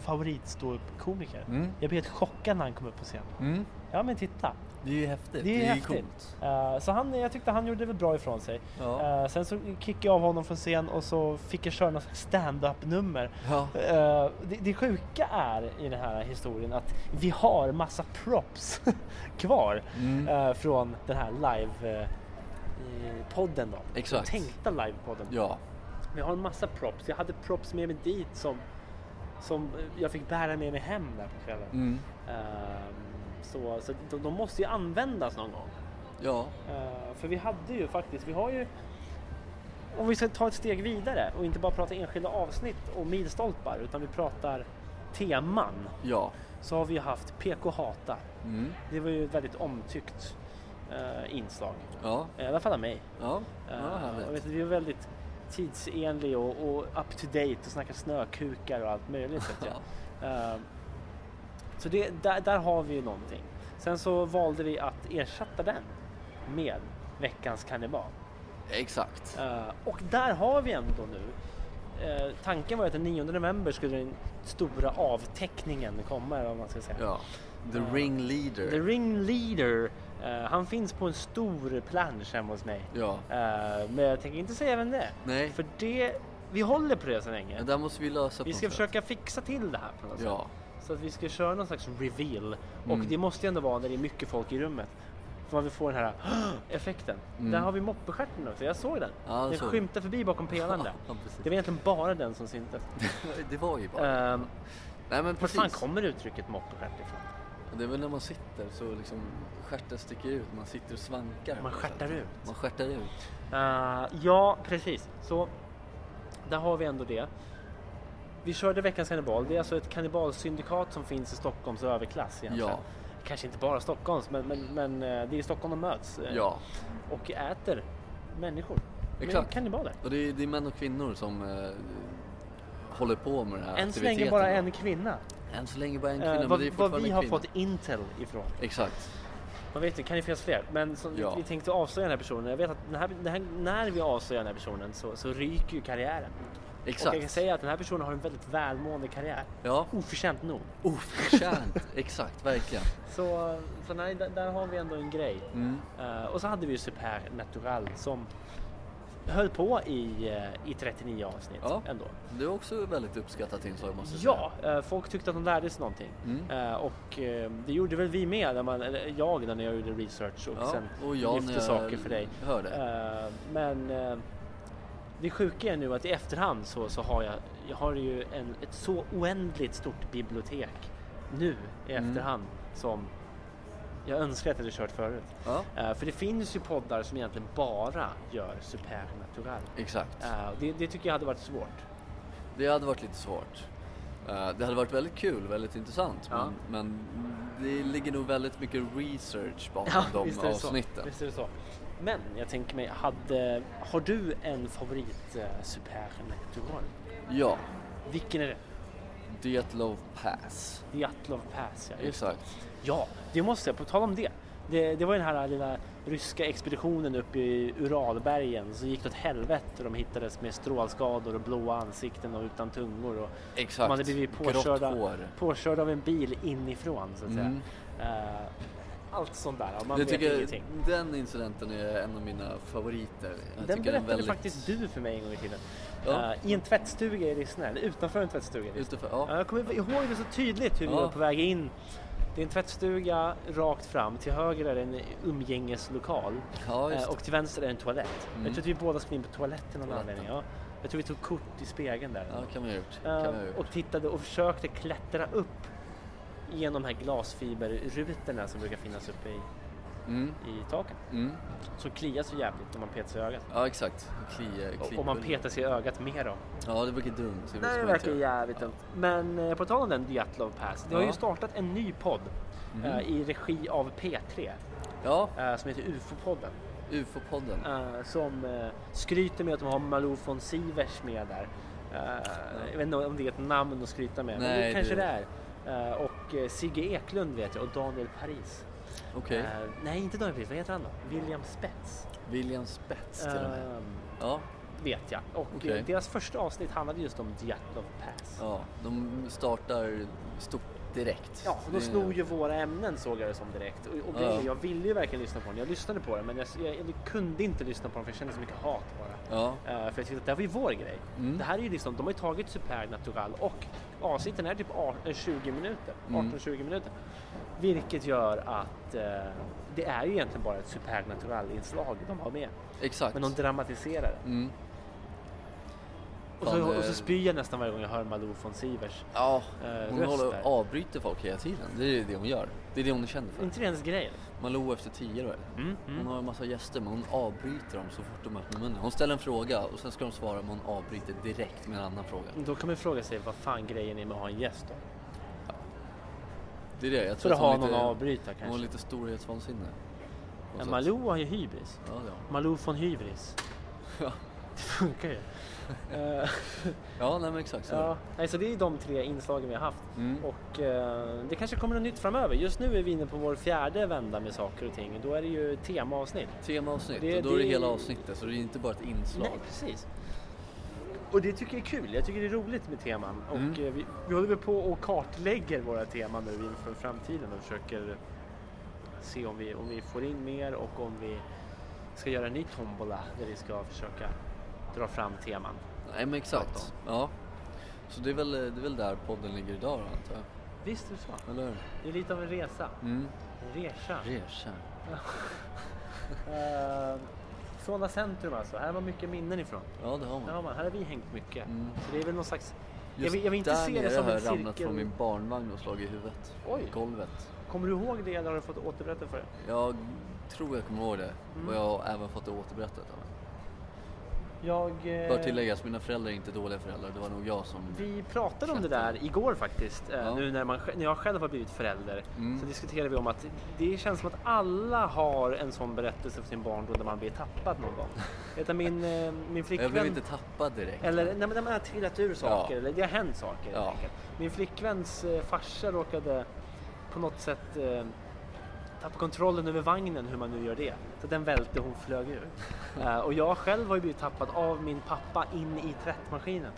[SPEAKER 1] favoritståuppkomiker.
[SPEAKER 2] Mm.
[SPEAKER 1] Jag blev helt chockad när han kom upp på scenen.
[SPEAKER 2] Mm.
[SPEAKER 1] Ja men titta,
[SPEAKER 2] Det är ju häftigt.
[SPEAKER 1] det är ju häftigt.
[SPEAKER 2] coolt.
[SPEAKER 1] Eh, så han, jag tyckte han gjorde väl bra ifrån sig.
[SPEAKER 2] Ja.
[SPEAKER 1] Eh, sen så kickade jag av honom från scen och så fick jag köra något stand-up nummer.
[SPEAKER 2] Ja.
[SPEAKER 1] Eh, det, det sjuka är i den här historien att vi har massa props kvar
[SPEAKER 2] Mm.
[SPEAKER 1] eh, från den här live eh, podden då.
[SPEAKER 2] Exakt.
[SPEAKER 1] Tänkta livepodden.
[SPEAKER 2] Ja.
[SPEAKER 1] Vi har en massa props. Jag hade props med mig dit som, som jag fick bära med mig hem där på kvällen.
[SPEAKER 2] Mm.
[SPEAKER 1] Eh, så så de, de måste ju användas någon gång.
[SPEAKER 2] Ja.
[SPEAKER 1] Eh, för vi hade ju faktiskt, vi har ju om vi ska ta ett steg vidare och inte bara prata enskilda avsnitt och milstolpar utan vi pratar teman
[SPEAKER 2] Ja.
[SPEAKER 1] så har vi ju haft PK Hata.
[SPEAKER 2] Mm.
[SPEAKER 1] Det var ju ett väldigt omtyckt eh, inslag.
[SPEAKER 2] Ja.
[SPEAKER 1] I alla fall av mig.
[SPEAKER 2] Ja. Ja,
[SPEAKER 1] Eh, jag vet,
[SPEAKER 2] härligt.
[SPEAKER 1] att vi var väldigt tidsenlig och, och up to date och snackade snökukar och allt möjligt. vet jag.
[SPEAKER 2] Ja.
[SPEAKER 1] Eh, Så det, där, där har vi ju någonting. Sen så valde vi att ersätta den med veckans kannibal.
[SPEAKER 2] Exakt.
[SPEAKER 1] Eh, Och där har vi ändå nu. eh, Tanken var ju att den 9 november skulle den stora avteckningen komma. Eller vad man ska säga.
[SPEAKER 2] Ja. The ringleader.
[SPEAKER 1] The ringleader, eh, han finns på en stor plansch hemma hos mig.
[SPEAKER 2] Ja.
[SPEAKER 1] Eh, Men jag tänker inte säga vem det är.
[SPEAKER 2] Nej.
[SPEAKER 1] För det, vi håller på det så länge.
[SPEAKER 2] Men där måste vi lösa på
[SPEAKER 1] Vi ska
[SPEAKER 2] något sätt.
[SPEAKER 1] försöka fixa till det här på något
[SPEAKER 2] Ja.
[SPEAKER 1] sätt. Så att vi ska köra någon slags reveal. Och
[SPEAKER 2] Mm.
[SPEAKER 1] det måste ju ändå vara när det är mycket folk i rummet. För man vill få den här effekten.
[SPEAKER 2] Mm.
[SPEAKER 1] Där har vi moppestjärten också, jag såg den.
[SPEAKER 2] Ja, jag
[SPEAKER 1] den
[SPEAKER 2] såg den.
[SPEAKER 1] skymtade förbi bakom pelaren där.
[SPEAKER 2] Ja, precis.
[SPEAKER 1] Det var egentligen bara den som syntes.
[SPEAKER 2] Det var ju bara
[SPEAKER 1] Ehm,
[SPEAKER 2] Nej men
[SPEAKER 1] Var
[SPEAKER 2] precis.
[SPEAKER 1] fan kommer uttrycket mockstjärt ifrån?
[SPEAKER 2] Och Det är väl när man sitter så liksom stjärten sticker ut, man sitter och svankar.
[SPEAKER 1] Man
[SPEAKER 2] på något sätt.
[SPEAKER 1] stjärtar ut.
[SPEAKER 2] Man stjärtar ut.
[SPEAKER 1] Eh, ja, precis. Så där har vi ändå det. Vi körde veckans kannibal. Det är alltså ett kannibalsyndikat som finns i Stockholms överklass egentligen.
[SPEAKER 2] Ja,
[SPEAKER 1] Kanske inte bara Stockholms, men, men, men eh, det är i Stockholm de möts eh,
[SPEAKER 2] ja.
[SPEAKER 1] och äter människor. Men
[SPEAKER 2] Exakt.
[SPEAKER 1] Kannibaler.
[SPEAKER 2] Och det är, det är män och kvinnor som eh, håller på med den
[SPEAKER 1] Än
[SPEAKER 2] här
[SPEAKER 1] så
[SPEAKER 2] aktiviteten.
[SPEAKER 1] länge bara
[SPEAKER 2] då.
[SPEAKER 1] en kvinna.
[SPEAKER 2] Än så länge bara en
[SPEAKER 1] Eh,
[SPEAKER 2] kvinna, men
[SPEAKER 1] vad,
[SPEAKER 2] det är
[SPEAKER 1] vad
[SPEAKER 2] fortfarande
[SPEAKER 1] vi
[SPEAKER 2] en
[SPEAKER 1] har
[SPEAKER 2] kvinna.
[SPEAKER 1] fått intel ifrån.
[SPEAKER 2] Exakt.
[SPEAKER 1] Man vet inte, kan det finnas fler? Men som
[SPEAKER 2] Ja.
[SPEAKER 1] vi, vi tänkte avslöja den här personen. Jag vet att den här, den här, när vi avslöjar den här personen så, så ryker ju karriären. Och jag kan
[SPEAKER 2] Exakt.
[SPEAKER 1] säga att den här personen har en väldigt välmående karriär.
[SPEAKER 2] Ja,
[SPEAKER 1] Oförtjänt nog.
[SPEAKER 2] oförtjänt. Exakt, verkligen.
[SPEAKER 1] Så, så nej, där, där har vi ändå en grej.
[SPEAKER 2] Mm.
[SPEAKER 1] Eh, och så hade vi ju Super Natural som höll på i, eh, i 39 avsnitt
[SPEAKER 2] Ja.
[SPEAKER 1] ändå.
[SPEAKER 2] Det är också ett väldigt uppskattat inslag måste jag
[SPEAKER 1] Ja, eh, folk tyckte att de lärde sig någonting.
[SPEAKER 2] Mm.
[SPEAKER 1] Eh, och eh, det gjorde väl vi med, när man, eller jag när jag gjorde research och
[SPEAKER 2] säga. Ja,
[SPEAKER 1] sen
[SPEAKER 2] och jag
[SPEAKER 1] lyfte
[SPEAKER 2] när jag
[SPEAKER 1] saker för dig.
[SPEAKER 2] Hör det.
[SPEAKER 1] Eh, men eh, det sjuka är nu att i efterhand så, så har jag, jag har ju en, ett så oändligt stort bibliotek nu i
[SPEAKER 2] Mm.
[SPEAKER 1] efterhand som jag önskar att jag hade kört förut.
[SPEAKER 2] Ja,
[SPEAKER 1] Eh, för det finns ju poddar som egentligen bara gör supernatural.
[SPEAKER 2] exakt.
[SPEAKER 1] Eh, det, det tycker jag hade varit svårt.
[SPEAKER 2] Det hade varit lite svårt. Eh, Det hade varit väldigt kul, väldigt intressant.
[SPEAKER 1] Ja.
[SPEAKER 2] Men, men det ligger nog väldigt mycket research bakom
[SPEAKER 1] visst
[SPEAKER 2] de
[SPEAKER 1] är det Så.
[SPEAKER 2] avsnitten.
[SPEAKER 1] Visst är det så. Men jag tänker mig, hade, har du en favorit eh, supernatural?
[SPEAKER 2] Ja,
[SPEAKER 1] Vilken är det?
[SPEAKER 2] Dietlov Pass.
[SPEAKER 1] Diatlov Pass, ja. Just
[SPEAKER 2] Exakt.
[SPEAKER 1] Ja, det måste jag. På tal om det. Det, det var ju den här lilla ryska expeditionen uppe i Uralbergen. Så gick det åt helvete. De hittades med strålskador och blåa ansikten och utan tungor. Och
[SPEAKER 2] Exakt.
[SPEAKER 1] de hade blivit
[SPEAKER 2] Grått
[SPEAKER 1] påkörda,
[SPEAKER 2] hår.
[SPEAKER 1] påkörda av en bil inifrån så att säga.
[SPEAKER 2] Mm.
[SPEAKER 1] Eh, allt sånt där. och Man
[SPEAKER 2] Jag
[SPEAKER 1] vet
[SPEAKER 2] tycker
[SPEAKER 1] ingenting.
[SPEAKER 2] den incidenten är en av mina favoriter. Jag
[SPEAKER 1] Den
[SPEAKER 2] tycker
[SPEAKER 1] berättade
[SPEAKER 2] väldigt-
[SPEAKER 1] faktiskt du för mig en gång i tiden.
[SPEAKER 2] Ja.
[SPEAKER 1] Eh, I en tvättstuga i Rissne, eller utanför en tvättstuga i Rissne.
[SPEAKER 2] Just det, för, ja.
[SPEAKER 1] Ja, Jag kommer ihåg det så tydligt hur vi
[SPEAKER 2] Ja.
[SPEAKER 1] var på väg in. Det är en tvättstuga rakt fram, till höger är det en umgängeslokal
[SPEAKER 2] ja, just
[SPEAKER 1] eh,
[SPEAKER 2] det.
[SPEAKER 1] och till vänster är det en toalett.
[SPEAKER 2] Mm.
[SPEAKER 1] Jag tror att vi båda skulle in på toaletten av någon
[SPEAKER 2] Toaletten.
[SPEAKER 1] anledning. Ja. Jag tror vi tog kort i spegeln där.
[SPEAKER 2] Ja, kan man ha gjort. Kan
[SPEAKER 1] Eh,
[SPEAKER 2] man ha gjort.
[SPEAKER 1] och tittade och försökte klättra upp genom de här glasfiberrutorna som brukar finnas uppe i,
[SPEAKER 2] Mm,
[SPEAKER 1] i taken.
[SPEAKER 2] mm.
[SPEAKER 1] Som kliar så jävligt när man petar sig i ögat.
[SPEAKER 2] Ja, exakt. Kli,
[SPEAKER 1] Och,
[SPEAKER 2] kli,
[SPEAKER 1] och man petar sig i ögat med dem.
[SPEAKER 2] Ja, det verkar dumt. Det
[SPEAKER 1] Nej,
[SPEAKER 2] ska
[SPEAKER 1] det
[SPEAKER 2] man inte
[SPEAKER 1] verkar
[SPEAKER 2] göra.
[SPEAKER 1] jävligt
[SPEAKER 2] Ja.
[SPEAKER 1] dumt. Men eh, på tal om den Diatlov Pass. Det har ju
[SPEAKER 2] Ja.
[SPEAKER 1] startat en ny podd
[SPEAKER 2] Mhm.
[SPEAKER 1] eh, i regi av P3
[SPEAKER 2] Ja,
[SPEAKER 1] eh, som heter UFO-podden.
[SPEAKER 2] UFO-podden.
[SPEAKER 1] eh, Som eh, skryter med att de har Malou von Sivers med där. Eh, Jag vet inte om det är ett namn att skryta med, men det
[SPEAKER 2] Nej,
[SPEAKER 1] kanske det
[SPEAKER 2] det-
[SPEAKER 1] är. Eh, Och eh, Sigge Eklund vet jag och Daniel Paris.
[SPEAKER 2] Okej.
[SPEAKER 1] Eh, Nej, inte Daniel Paris. Vad heter han då? William Spets.
[SPEAKER 2] William Spets till och med.
[SPEAKER 1] eh,
[SPEAKER 2] Ja,
[SPEAKER 1] Vet jag. Och eh,
[SPEAKER 2] Okej.
[SPEAKER 1] deras första avsnitt handlade just om Diatlov Pass.
[SPEAKER 2] ja, de startar stort direkt.
[SPEAKER 1] Ja, och de
[SPEAKER 2] Det-
[SPEAKER 1] snor ju våra ämnen såg jag det som direkt. Och, och
[SPEAKER 2] Ja.
[SPEAKER 1] grejen är, jag ville ju verkligen lyssna på den. Jag lyssnade på den men jag, jag, jag kunde inte lyssna på den för jag kände så mycket hat bara.
[SPEAKER 2] Ja,
[SPEAKER 1] Eh, för jag tyckte att det här var ju vår grej.
[SPEAKER 2] Mm.
[SPEAKER 1] Det här är ju liksom, de har ju tagit Supernatural och avsnitten är typ 18, 20 minuter.
[SPEAKER 2] Mm.
[SPEAKER 1] 18-20 minuter. Vilket gör att eh, det är ju egentligen bara ett Supernatural-inslag de har med.
[SPEAKER 2] exakt.
[SPEAKER 1] Men de dramatiserar det.
[SPEAKER 2] Mm.
[SPEAKER 1] Och så,
[SPEAKER 2] Fan,
[SPEAKER 1] och
[SPEAKER 2] eh,
[SPEAKER 1] så spyr jag nästan varje gång jag hör Malou von Sivers.
[SPEAKER 2] Ja,
[SPEAKER 1] Eh,
[SPEAKER 2] hon
[SPEAKER 1] röst
[SPEAKER 2] håller,
[SPEAKER 1] där.
[SPEAKER 2] avbryter folk hela tiden. Det är det hon gör. Det är det hon är känd för.
[SPEAKER 1] inte det hennes grej? eller?
[SPEAKER 2] Malou efter tio då. eller?
[SPEAKER 1] Mm, mm.
[SPEAKER 2] Hon har en massa gäster men hon avbryter dem så fort de öppnar munnen. Hon ställer en fråga och sen ska de svara men hon avbryter direkt med en annan fråga.
[SPEAKER 1] Då kan man ju fråga sig vad fan grejen är med att ha en gäst då?
[SPEAKER 2] Det är det. Jag
[SPEAKER 1] För
[SPEAKER 2] tror
[SPEAKER 1] att
[SPEAKER 2] att hon
[SPEAKER 1] ha någon att
[SPEAKER 2] är lite,
[SPEAKER 1] avbryta
[SPEAKER 2] hon har
[SPEAKER 1] kanske.
[SPEAKER 2] lite storhetsvansinne. Och så
[SPEAKER 1] Men
[SPEAKER 2] att-
[SPEAKER 1] Malou har ju hybris.
[SPEAKER 2] Ja, det har hon.
[SPEAKER 1] Malou von Hybris.
[SPEAKER 2] Ja.
[SPEAKER 1] Det funkar ju. Eh,
[SPEAKER 2] ja, nej men exakt så är
[SPEAKER 1] ja.
[SPEAKER 2] det.
[SPEAKER 1] Nej, så det är de tre inslagen vi har haft.
[SPEAKER 2] Mm.
[SPEAKER 1] Och eh, det kanske kommer något nytt framöver. Just nu är vi inne på vår fjärde vända med saker och ting. Då är det ju temaavsnitt.
[SPEAKER 2] Temaavsnitt
[SPEAKER 1] Det-
[SPEAKER 2] och då är det
[SPEAKER 1] det-
[SPEAKER 2] hela avsnittet så det är inte bara ett inslag.
[SPEAKER 1] Nej, precis. Och det tycker jag är kul. Jag tycker det är roligt med teman.
[SPEAKER 2] Mm.
[SPEAKER 1] Och eh, vi, vi håller väl på och kartlägger våra teman nu inför framtiden och försöker se om vi, om vi får in mer och om vi ska göra en ny tombola där vi ska försöka dra fram teman.
[SPEAKER 2] Nej men exakt. Ja. Så det är, väl, det är väl där podden ligger idag då antar jag.
[SPEAKER 1] Visst är det så.
[SPEAKER 2] Eller hur?
[SPEAKER 1] Det är lite av en resa.
[SPEAKER 2] Mm.
[SPEAKER 1] En resa.
[SPEAKER 2] Resa.
[SPEAKER 1] Eh, Solna centrum alltså. Här har man mycket minnen ifrån.
[SPEAKER 2] Ja det har
[SPEAKER 1] Här
[SPEAKER 2] man.
[SPEAKER 1] har, man, här har vi hängt mycket.
[SPEAKER 2] Mm.
[SPEAKER 1] Så det är väl någon slags jag vill- jag vill inte
[SPEAKER 2] där
[SPEAKER 1] se det
[SPEAKER 2] nere
[SPEAKER 1] som
[SPEAKER 2] har
[SPEAKER 1] en
[SPEAKER 2] jag ramlat
[SPEAKER 1] cirkel.
[SPEAKER 2] från min barnvagn och slagit i huvudet.
[SPEAKER 1] Oj.
[SPEAKER 2] I golvet.
[SPEAKER 1] Kommer du ihåg det eller har du fått återberätta för dig?
[SPEAKER 2] Jag tror jag kommer ihåg det.
[SPEAKER 1] Mm.
[SPEAKER 2] Och jag har även fått det återberättat av mig.
[SPEAKER 1] Jag... eh,
[SPEAKER 2] Bör tilläggas, mina föräldrar är inte dåliga föräldrar. Det var nog jag som...
[SPEAKER 1] Vi pratade om det där igår faktiskt. eh,
[SPEAKER 2] Ja.
[SPEAKER 1] Nu när, man, sj- när jag själv har blivit förälder
[SPEAKER 2] Mm.
[SPEAKER 1] så diskuterade vi om att det känns som att alla har en sån berättelse från sin barndom där man blir tappad någon gång. Utan min, eh, min
[SPEAKER 2] Jag blev
[SPEAKER 1] flickvän...
[SPEAKER 2] inte tappad direkt.
[SPEAKER 1] Eller nej, men man har trillat ur saker
[SPEAKER 2] Ja.
[SPEAKER 1] eller det har hänt saker. helt
[SPEAKER 2] Ja.
[SPEAKER 1] enkelt. Min flickväns eh, farsa råkade på något sätt eh, tappa kontrollen över vagnen, hur man nu gör det. Så den välte och hon flög ur. Eh, och jag själv har ju blivit tappad av min pappa in i tvättmaskinen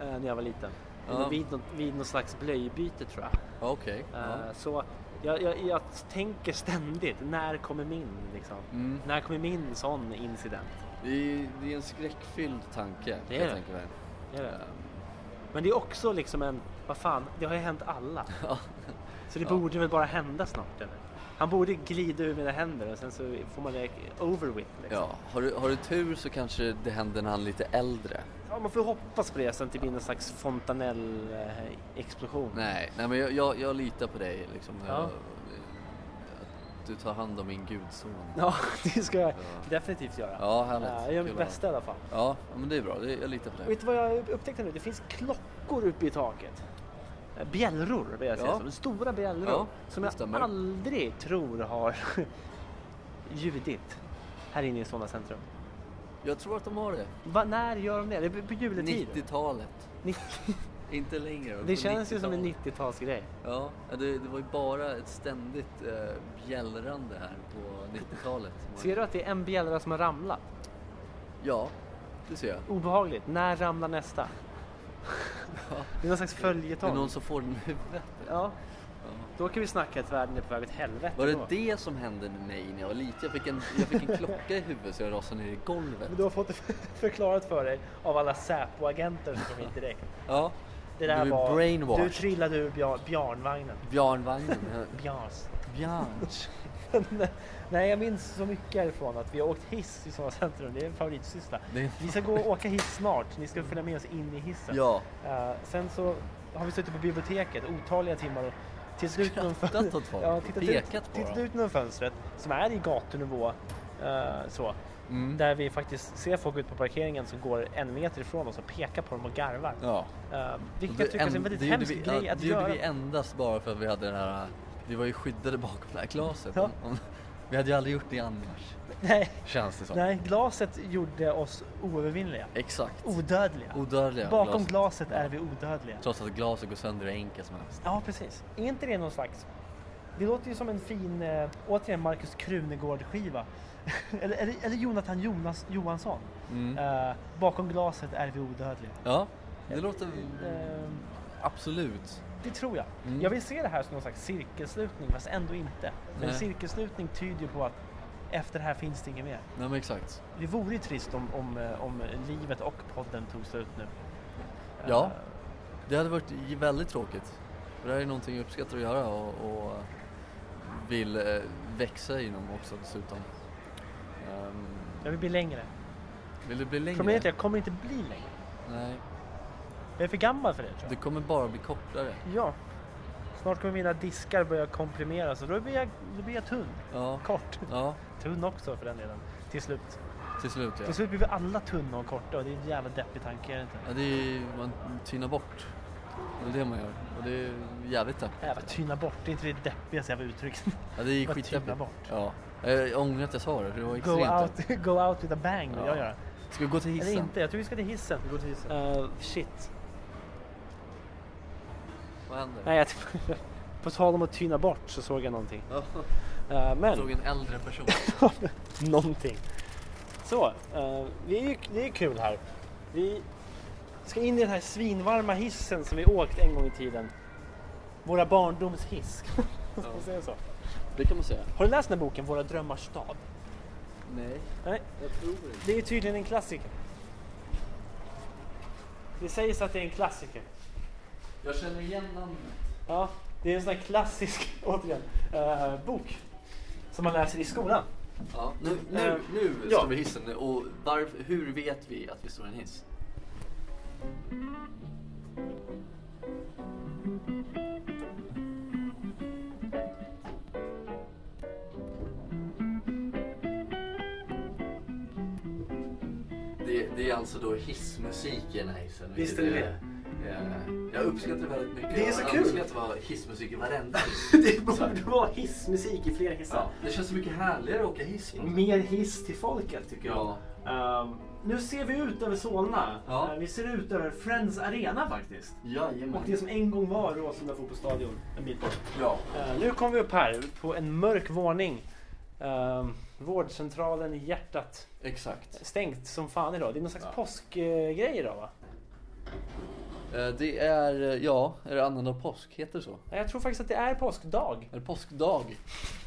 [SPEAKER 1] eh, när jag var liten.
[SPEAKER 2] Ja.
[SPEAKER 1] Vid, något, vid något slags blöjbyte tror jag.
[SPEAKER 2] Ja, Okej.
[SPEAKER 1] Eh,
[SPEAKER 2] Ja.
[SPEAKER 1] Så jag, jag, jag tänker ständigt, när kommer min? Liksom?
[SPEAKER 2] Mm.
[SPEAKER 1] När kommer min sån incident?
[SPEAKER 2] Det, är, det är en skräckfylld tanke.
[SPEAKER 1] Det är
[SPEAKER 2] jag
[SPEAKER 1] det.
[SPEAKER 2] tänker mig.
[SPEAKER 1] Det är det.
[SPEAKER 2] Ehm,
[SPEAKER 1] Men det är också liksom en, vad fan, det har ju hänt alla.
[SPEAKER 2] Ja.
[SPEAKER 1] Så det
[SPEAKER 2] Ja.
[SPEAKER 1] borde väl bara hända snart eller? Han borde glida ur mina händer och sen så får man det over with. Liksom.
[SPEAKER 2] Ja, har du, har du tur så kanske det händer när han är lite äldre.
[SPEAKER 1] Ja, man får hoppas på det sen till det blir någon slags fontanell-explosion.
[SPEAKER 2] Nej, nej men jag, jag, jag litar på dig liksom.
[SPEAKER 1] Ja.
[SPEAKER 2] Jag, att du tar hand om min gudson.
[SPEAKER 1] Ja, det ska jag
[SPEAKER 2] Ja.
[SPEAKER 1] definitivt göra.
[SPEAKER 2] Ja, härligt.
[SPEAKER 1] Ja, jag gör mitt
[SPEAKER 2] Kul att
[SPEAKER 1] bästa i alla fall.
[SPEAKER 2] höra. Ja, ja, men det är bra. Det, jag litar på dig.
[SPEAKER 1] Vet du vad jag upptäckte nu? Det finns klockor uppe i taket. Eh, Bjällror vill jag säga.
[SPEAKER 2] Ja.
[SPEAKER 1] som. Stora bjällror.
[SPEAKER 2] Ja,
[SPEAKER 1] som
[SPEAKER 2] det
[SPEAKER 1] jag
[SPEAKER 2] stämmer.
[SPEAKER 1] aldrig tror har ljudit här inne i Solna centrum.
[SPEAKER 2] Jag tror att de har det.
[SPEAKER 1] Va, när gör de det? Det är på juletid.
[SPEAKER 2] 90-talet.
[SPEAKER 1] 90.
[SPEAKER 2] Inte längre. men
[SPEAKER 1] Det
[SPEAKER 2] på
[SPEAKER 1] känns ju som en
[SPEAKER 2] 90-talet.
[SPEAKER 1] 90-talsgrej.
[SPEAKER 2] Ja, ja, det, det var ju bara ett ständigt eh, bjällrande här på 90-talet.
[SPEAKER 1] Ser du att det är en bjällra som har ramlat?
[SPEAKER 2] Ja, det ser jag.
[SPEAKER 1] Obehagligt. När ramlar nästa? Det är någon slags
[SPEAKER 2] Det är
[SPEAKER 1] följetong.
[SPEAKER 2] någon som får den i huvudet.
[SPEAKER 1] Ja,
[SPEAKER 2] Ja.
[SPEAKER 1] då kan vi snacka att världen är på väg åt helvete.
[SPEAKER 2] Var det
[SPEAKER 1] då.
[SPEAKER 2] det som hände med mig när jag var liten? Jag fick en, jag fick en klocka i huvudet så jag rasade ner i golvet.
[SPEAKER 1] Men Du har fått det förklarat för dig av alla Säpo-agenter som kom hit direkt.
[SPEAKER 2] Ja.
[SPEAKER 1] Det
[SPEAKER 2] Du
[SPEAKER 1] där
[SPEAKER 2] är
[SPEAKER 1] var...
[SPEAKER 2] brainwashed.
[SPEAKER 1] Du trillade ur bjar, bjarnvagnen.
[SPEAKER 2] Björnvagnen.
[SPEAKER 1] Bjarns.
[SPEAKER 2] Björns.
[SPEAKER 1] Nej, jag minns så mycket härifrån att vi har åkt hiss i sådana centrum. Det är en favoritsyssla.
[SPEAKER 2] Det är-
[SPEAKER 1] Vi ska gå och åka hiss snart. Ni ska följa med oss in i hissen.
[SPEAKER 2] Ja.
[SPEAKER 1] Eh, sen så har vi suttit på biblioteket otaliga timmar och tittat ut genom
[SPEAKER 2] Skrattat
[SPEAKER 1] fönstret.
[SPEAKER 2] åt folk,
[SPEAKER 1] Ja, tittat
[SPEAKER 2] pekat
[SPEAKER 1] ut,
[SPEAKER 2] på
[SPEAKER 1] tittat
[SPEAKER 2] dem.
[SPEAKER 1] ut genom fönstret som är i gatunivå. eh, så.
[SPEAKER 2] Mm.
[SPEAKER 1] Där vi faktiskt ser folk ute på parkeringen som går en meter ifrån oss och pekar på dem och garvar.
[SPEAKER 2] Ja.
[SPEAKER 1] Eh, vilket
[SPEAKER 2] Och
[SPEAKER 1] jag tycker är en
[SPEAKER 2] en-
[SPEAKER 1] väldigt
[SPEAKER 2] det gjorde
[SPEAKER 1] hemsk
[SPEAKER 2] vi-
[SPEAKER 1] grej
[SPEAKER 2] ja,
[SPEAKER 1] att
[SPEAKER 2] Det gjorde
[SPEAKER 1] göra.
[SPEAKER 2] vi endast bara för att vi hade den här... Vi var ju skyddade bakom det här glaset.
[SPEAKER 1] Ja.
[SPEAKER 2] Om- om- Vi hade ju aldrig gjort det annars.
[SPEAKER 1] Nej,
[SPEAKER 2] Känns det som.
[SPEAKER 1] nej, glaset gjorde oss oövervinnliga.
[SPEAKER 2] Exakt.
[SPEAKER 1] Odödliga.
[SPEAKER 2] Odödliga
[SPEAKER 1] Bakom
[SPEAKER 2] glas.
[SPEAKER 1] glaset är vi odödliga.
[SPEAKER 2] Trots att glaset går sönder hur enkelt som helst.
[SPEAKER 1] Ja, precis. Är inte det någon slags... Det låter ju som en fin, eh, återigen, Markus Krunegård-skiva. eller, eller, eller Jonathan Jonas, Johansson.
[SPEAKER 2] Mm.
[SPEAKER 1] Eh, bakom glaset är vi odödliga.
[SPEAKER 2] Ja, det låter
[SPEAKER 1] Eh,
[SPEAKER 2] absolut.
[SPEAKER 1] det tror jag.
[SPEAKER 2] Mm.
[SPEAKER 1] Jag vill se det här som någon slags cirkelslutning, fast ändå inte. Men
[SPEAKER 2] Nej.
[SPEAKER 1] cirkelslutning tyder ju på att efter det här finns det inget mer.
[SPEAKER 2] Nej men exakt.
[SPEAKER 1] Det vore ju trist om, om, eh, om livet och podden tog slut nu. Eh,
[SPEAKER 2] Ja. Det hade varit j- väldigt tråkigt. För det här är någonting jag uppskattar att göra och, och vill eh, växa inom också dessutom. Ehm,
[SPEAKER 1] Jag vill bli längre.
[SPEAKER 2] vill du bli längre?
[SPEAKER 1] Problemet är att jag kommer inte bli längre.
[SPEAKER 2] Nej,
[SPEAKER 1] Jag är för gammal för det tror jag.
[SPEAKER 2] du kommer bara bli kortare.
[SPEAKER 1] Ja. Snart kommer mina diskar börja komprimeras och då blir jag, då blir jag tunn.
[SPEAKER 2] Ja,
[SPEAKER 1] Kort.
[SPEAKER 2] ja
[SPEAKER 1] Tunn också för den delen. Till slut.
[SPEAKER 2] till slut ja.
[SPEAKER 1] Till slut blir vi alla tunna och korta och det är en jävla deppig tanke, är det inte?
[SPEAKER 2] ja det är, man tynar bort. Det är det man gör. Och det är jävligt
[SPEAKER 1] Jävla
[SPEAKER 2] deppigt.
[SPEAKER 1] tyna bort, det är inte det deppigaste jag har uttryckt.
[SPEAKER 2] Ja, det är
[SPEAKER 1] Vad tynar
[SPEAKER 2] skitdeppigt.
[SPEAKER 1] bort.
[SPEAKER 2] Ja. Jag ångrar att jag sa det, för det var
[SPEAKER 1] Go
[SPEAKER 2] extremt.
[SPEAKER 1] out, go out with a bang vill
[SPEAKER 2] Ja.
[SPEAKER 1] jag göra.
[SPEAKER 2] Ska vi gå till hissen?
[SPEAKER 1] Eller inte, jag tror vi ska till hissen.
[SPEAKER 2] Vi går till hissen.
[SPEAKER 1] Eh, shit.
[SPEAKER 2] Vad händer?
[SPEAKER 1] Nej, jag på tal om att tyna bort så såg jag någonting.
[SPEAKER 2] Ja,
[SPEAKER 1] Eh, men...
[SPEAKER 2] Såg en äldre person.
[SPEAKER 1] Någonting. Så, eh, det, är ju, det är kul här. Vi ska in i den här svinvarma hissen som vi åkt en gång i tiden. Våra barndomshiss. Ska man säga så?
[SPEAKER 2] Det kan man säga.
[SPEAKER 1] Har du läst den här boken, Våra drömmars stad?
[SPEAKER 2] Nej,
[SPEAKER 1] Nej,
[SPEAKER 2] jag tror inte.
[SPEAKER 1] det är tydligen en klassiker. Det sägs att det är en klassiker.
[SPEAKER 2] Jag känner igen namnet.
[SPEAKER 1] Ja, det är en sån här klassisk, återigen, eh, bok. Som man läser i skolan.
[SPEAKER 2] Ja, nu nu,
[SPEAKER 1] Eh,
[SPEAKER 2] nu
[SPEAKER 1] ja.
[SPEAKER 2] står vi i hissen och varf, hur vet vi att vi står i en hiss? Det, det är alltså då hissmusik i den här hissen.
[SPEAKER 3] Visst
[SPEAKER 2] vilket
[SPEAKER 3] är det
[SPEAKER 2] eh, Jag uppskattar det väldigt mycket.
[SPEAKER 3] Det är så
[SPEAKER 2] jag
[SPEAKER 3] kul.
[SPEAKER 2] önskar att det var hissmusik i varenda hiss.
[SPEAKER 3] Det borde vara hissmusik i fler hissar.
[SPEAKER 2] Ja, det känns så mycket härligare att åka hiss. på något sätt.
[SPEAKER 3] Mer hiss till folket tycker jag.
[SPEAKER 2] Ja.
[SPEAKER 3] Ehm, nu ser vi ut över Solna.
[SPEAKER 2] Ja.
[SPEAKER 3] Ehm, vi ser ut över Friends Arena faktiskt. Och det
[SPEAKER 2] Jajamän.
[SPEAKER 3] som en gång var Råsunda fotbollsstadion en bit bort.
[SPEAKER 2] Ja.
[SPEAKER 1] Eh, nu kommer vi upp här på en mörk våning. Eh, vårdcentralen i hjärtat.
[SPEAKER 2] Exakt.
[SPEAKER 1] Stängt som fan idag. Det är någon slags
[SPEAKER 3] Ja.
[SPEAKER 1] påskgrej idag va?
[SPEAKER 2] Eh, Det är, eh, ja, är det annandag påsk? Heter det så?
[SPEAKER 1] Nej, Jag tror faktiskt att det är påskdag.
[SPEAKER 2] Är det påskdag?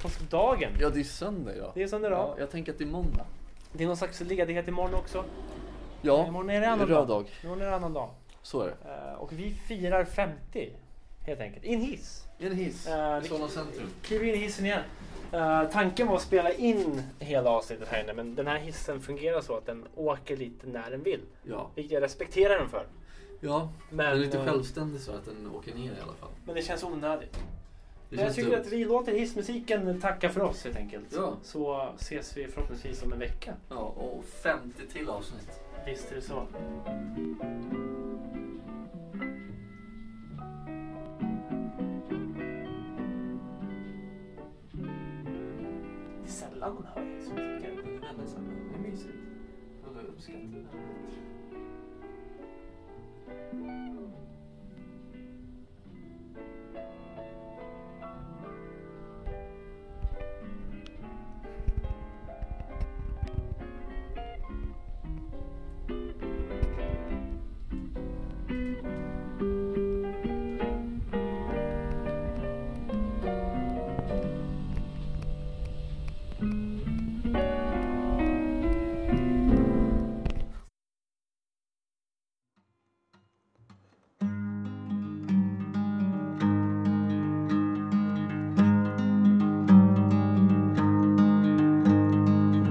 [SPEAKER 1] Påskdagen.
[SPEAKER 2] Ja, det är söndag idag.
[SPEAKER 1] Det är söndag idag.
[SPEAKER 2] Ja, jag tänker att det är måndag.
[SPEAKER 1] Det är någon slags ledighet imorgon också.
[SPEAKER 2] Ja,
[SPEAKER 1] imorgon är det annan
[SPEAKER 2] röd
[SPEAKER 1] dag.
[SPEAKER 2] dag.
[SPEAKER 1] Imorgon är det annan dag.
[SPEAKER 2] Så är det.
[SPEAKER 1] Eh, och vi firar 50 helt enkelt. In hiss.
[SPEAKER 2] I en hiss.
[SPEAKER 1] Eh,
[SPEAKER 2] I Solna centrum.
[SPEAKER 1] Kliver in i hissen igen. Eh, tanken var att spela in hela avsnittet här inne men den här hissen fungerar så att den åker lite när den vill.
[SPEAKER 2] Ja.
[SPEAKER 1] Vilket jag respekterar den för.
[SPEAKER 2] ja.
[SPEAKER 1] Men,
[SPEAKER 2] den är lite
[SPEAKER 1] eh,
[SPEAKER 2] självständig så att den åker ner i alla fall.
[SPEAKER 1] Men det känns onödigt.
[SPEAKER 2] Det
[SPEAKER 1] Men jag
[SPEAKER 2] känns
[SPEAKER 1] tycker
[SPEAKER 2] dumt.
[SPEAKER 1] att vi låter hissmusiken tacka för oss helt enkelt.
[SPEAKER 2] Ja.
[SPEAKER 1] Så ses vi förhoppningsvis om en vecka.
[SPEAKER 2] Ja, och 50 till avsnitt.
[SPEAKER 1] Visst är det så. Det är sällan man hör hissmusiken.
[SPEAKER 2] Det är väldigt sällan. Det är mysigt. Jag uppskattar det.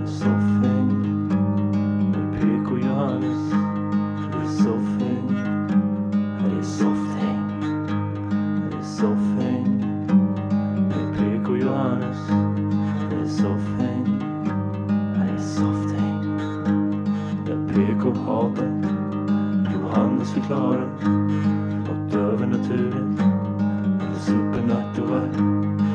[SPEAKER 4] Soffhäng med PK-Johannes. Det är soffhäng. Det är soffhäng. Det är soffhäng med PK-Johannes. Det är soffhäng. Det är soffhäng. Där PK hatar. Johannes förklarar. Något övernaturligt. Eller supernaturligt.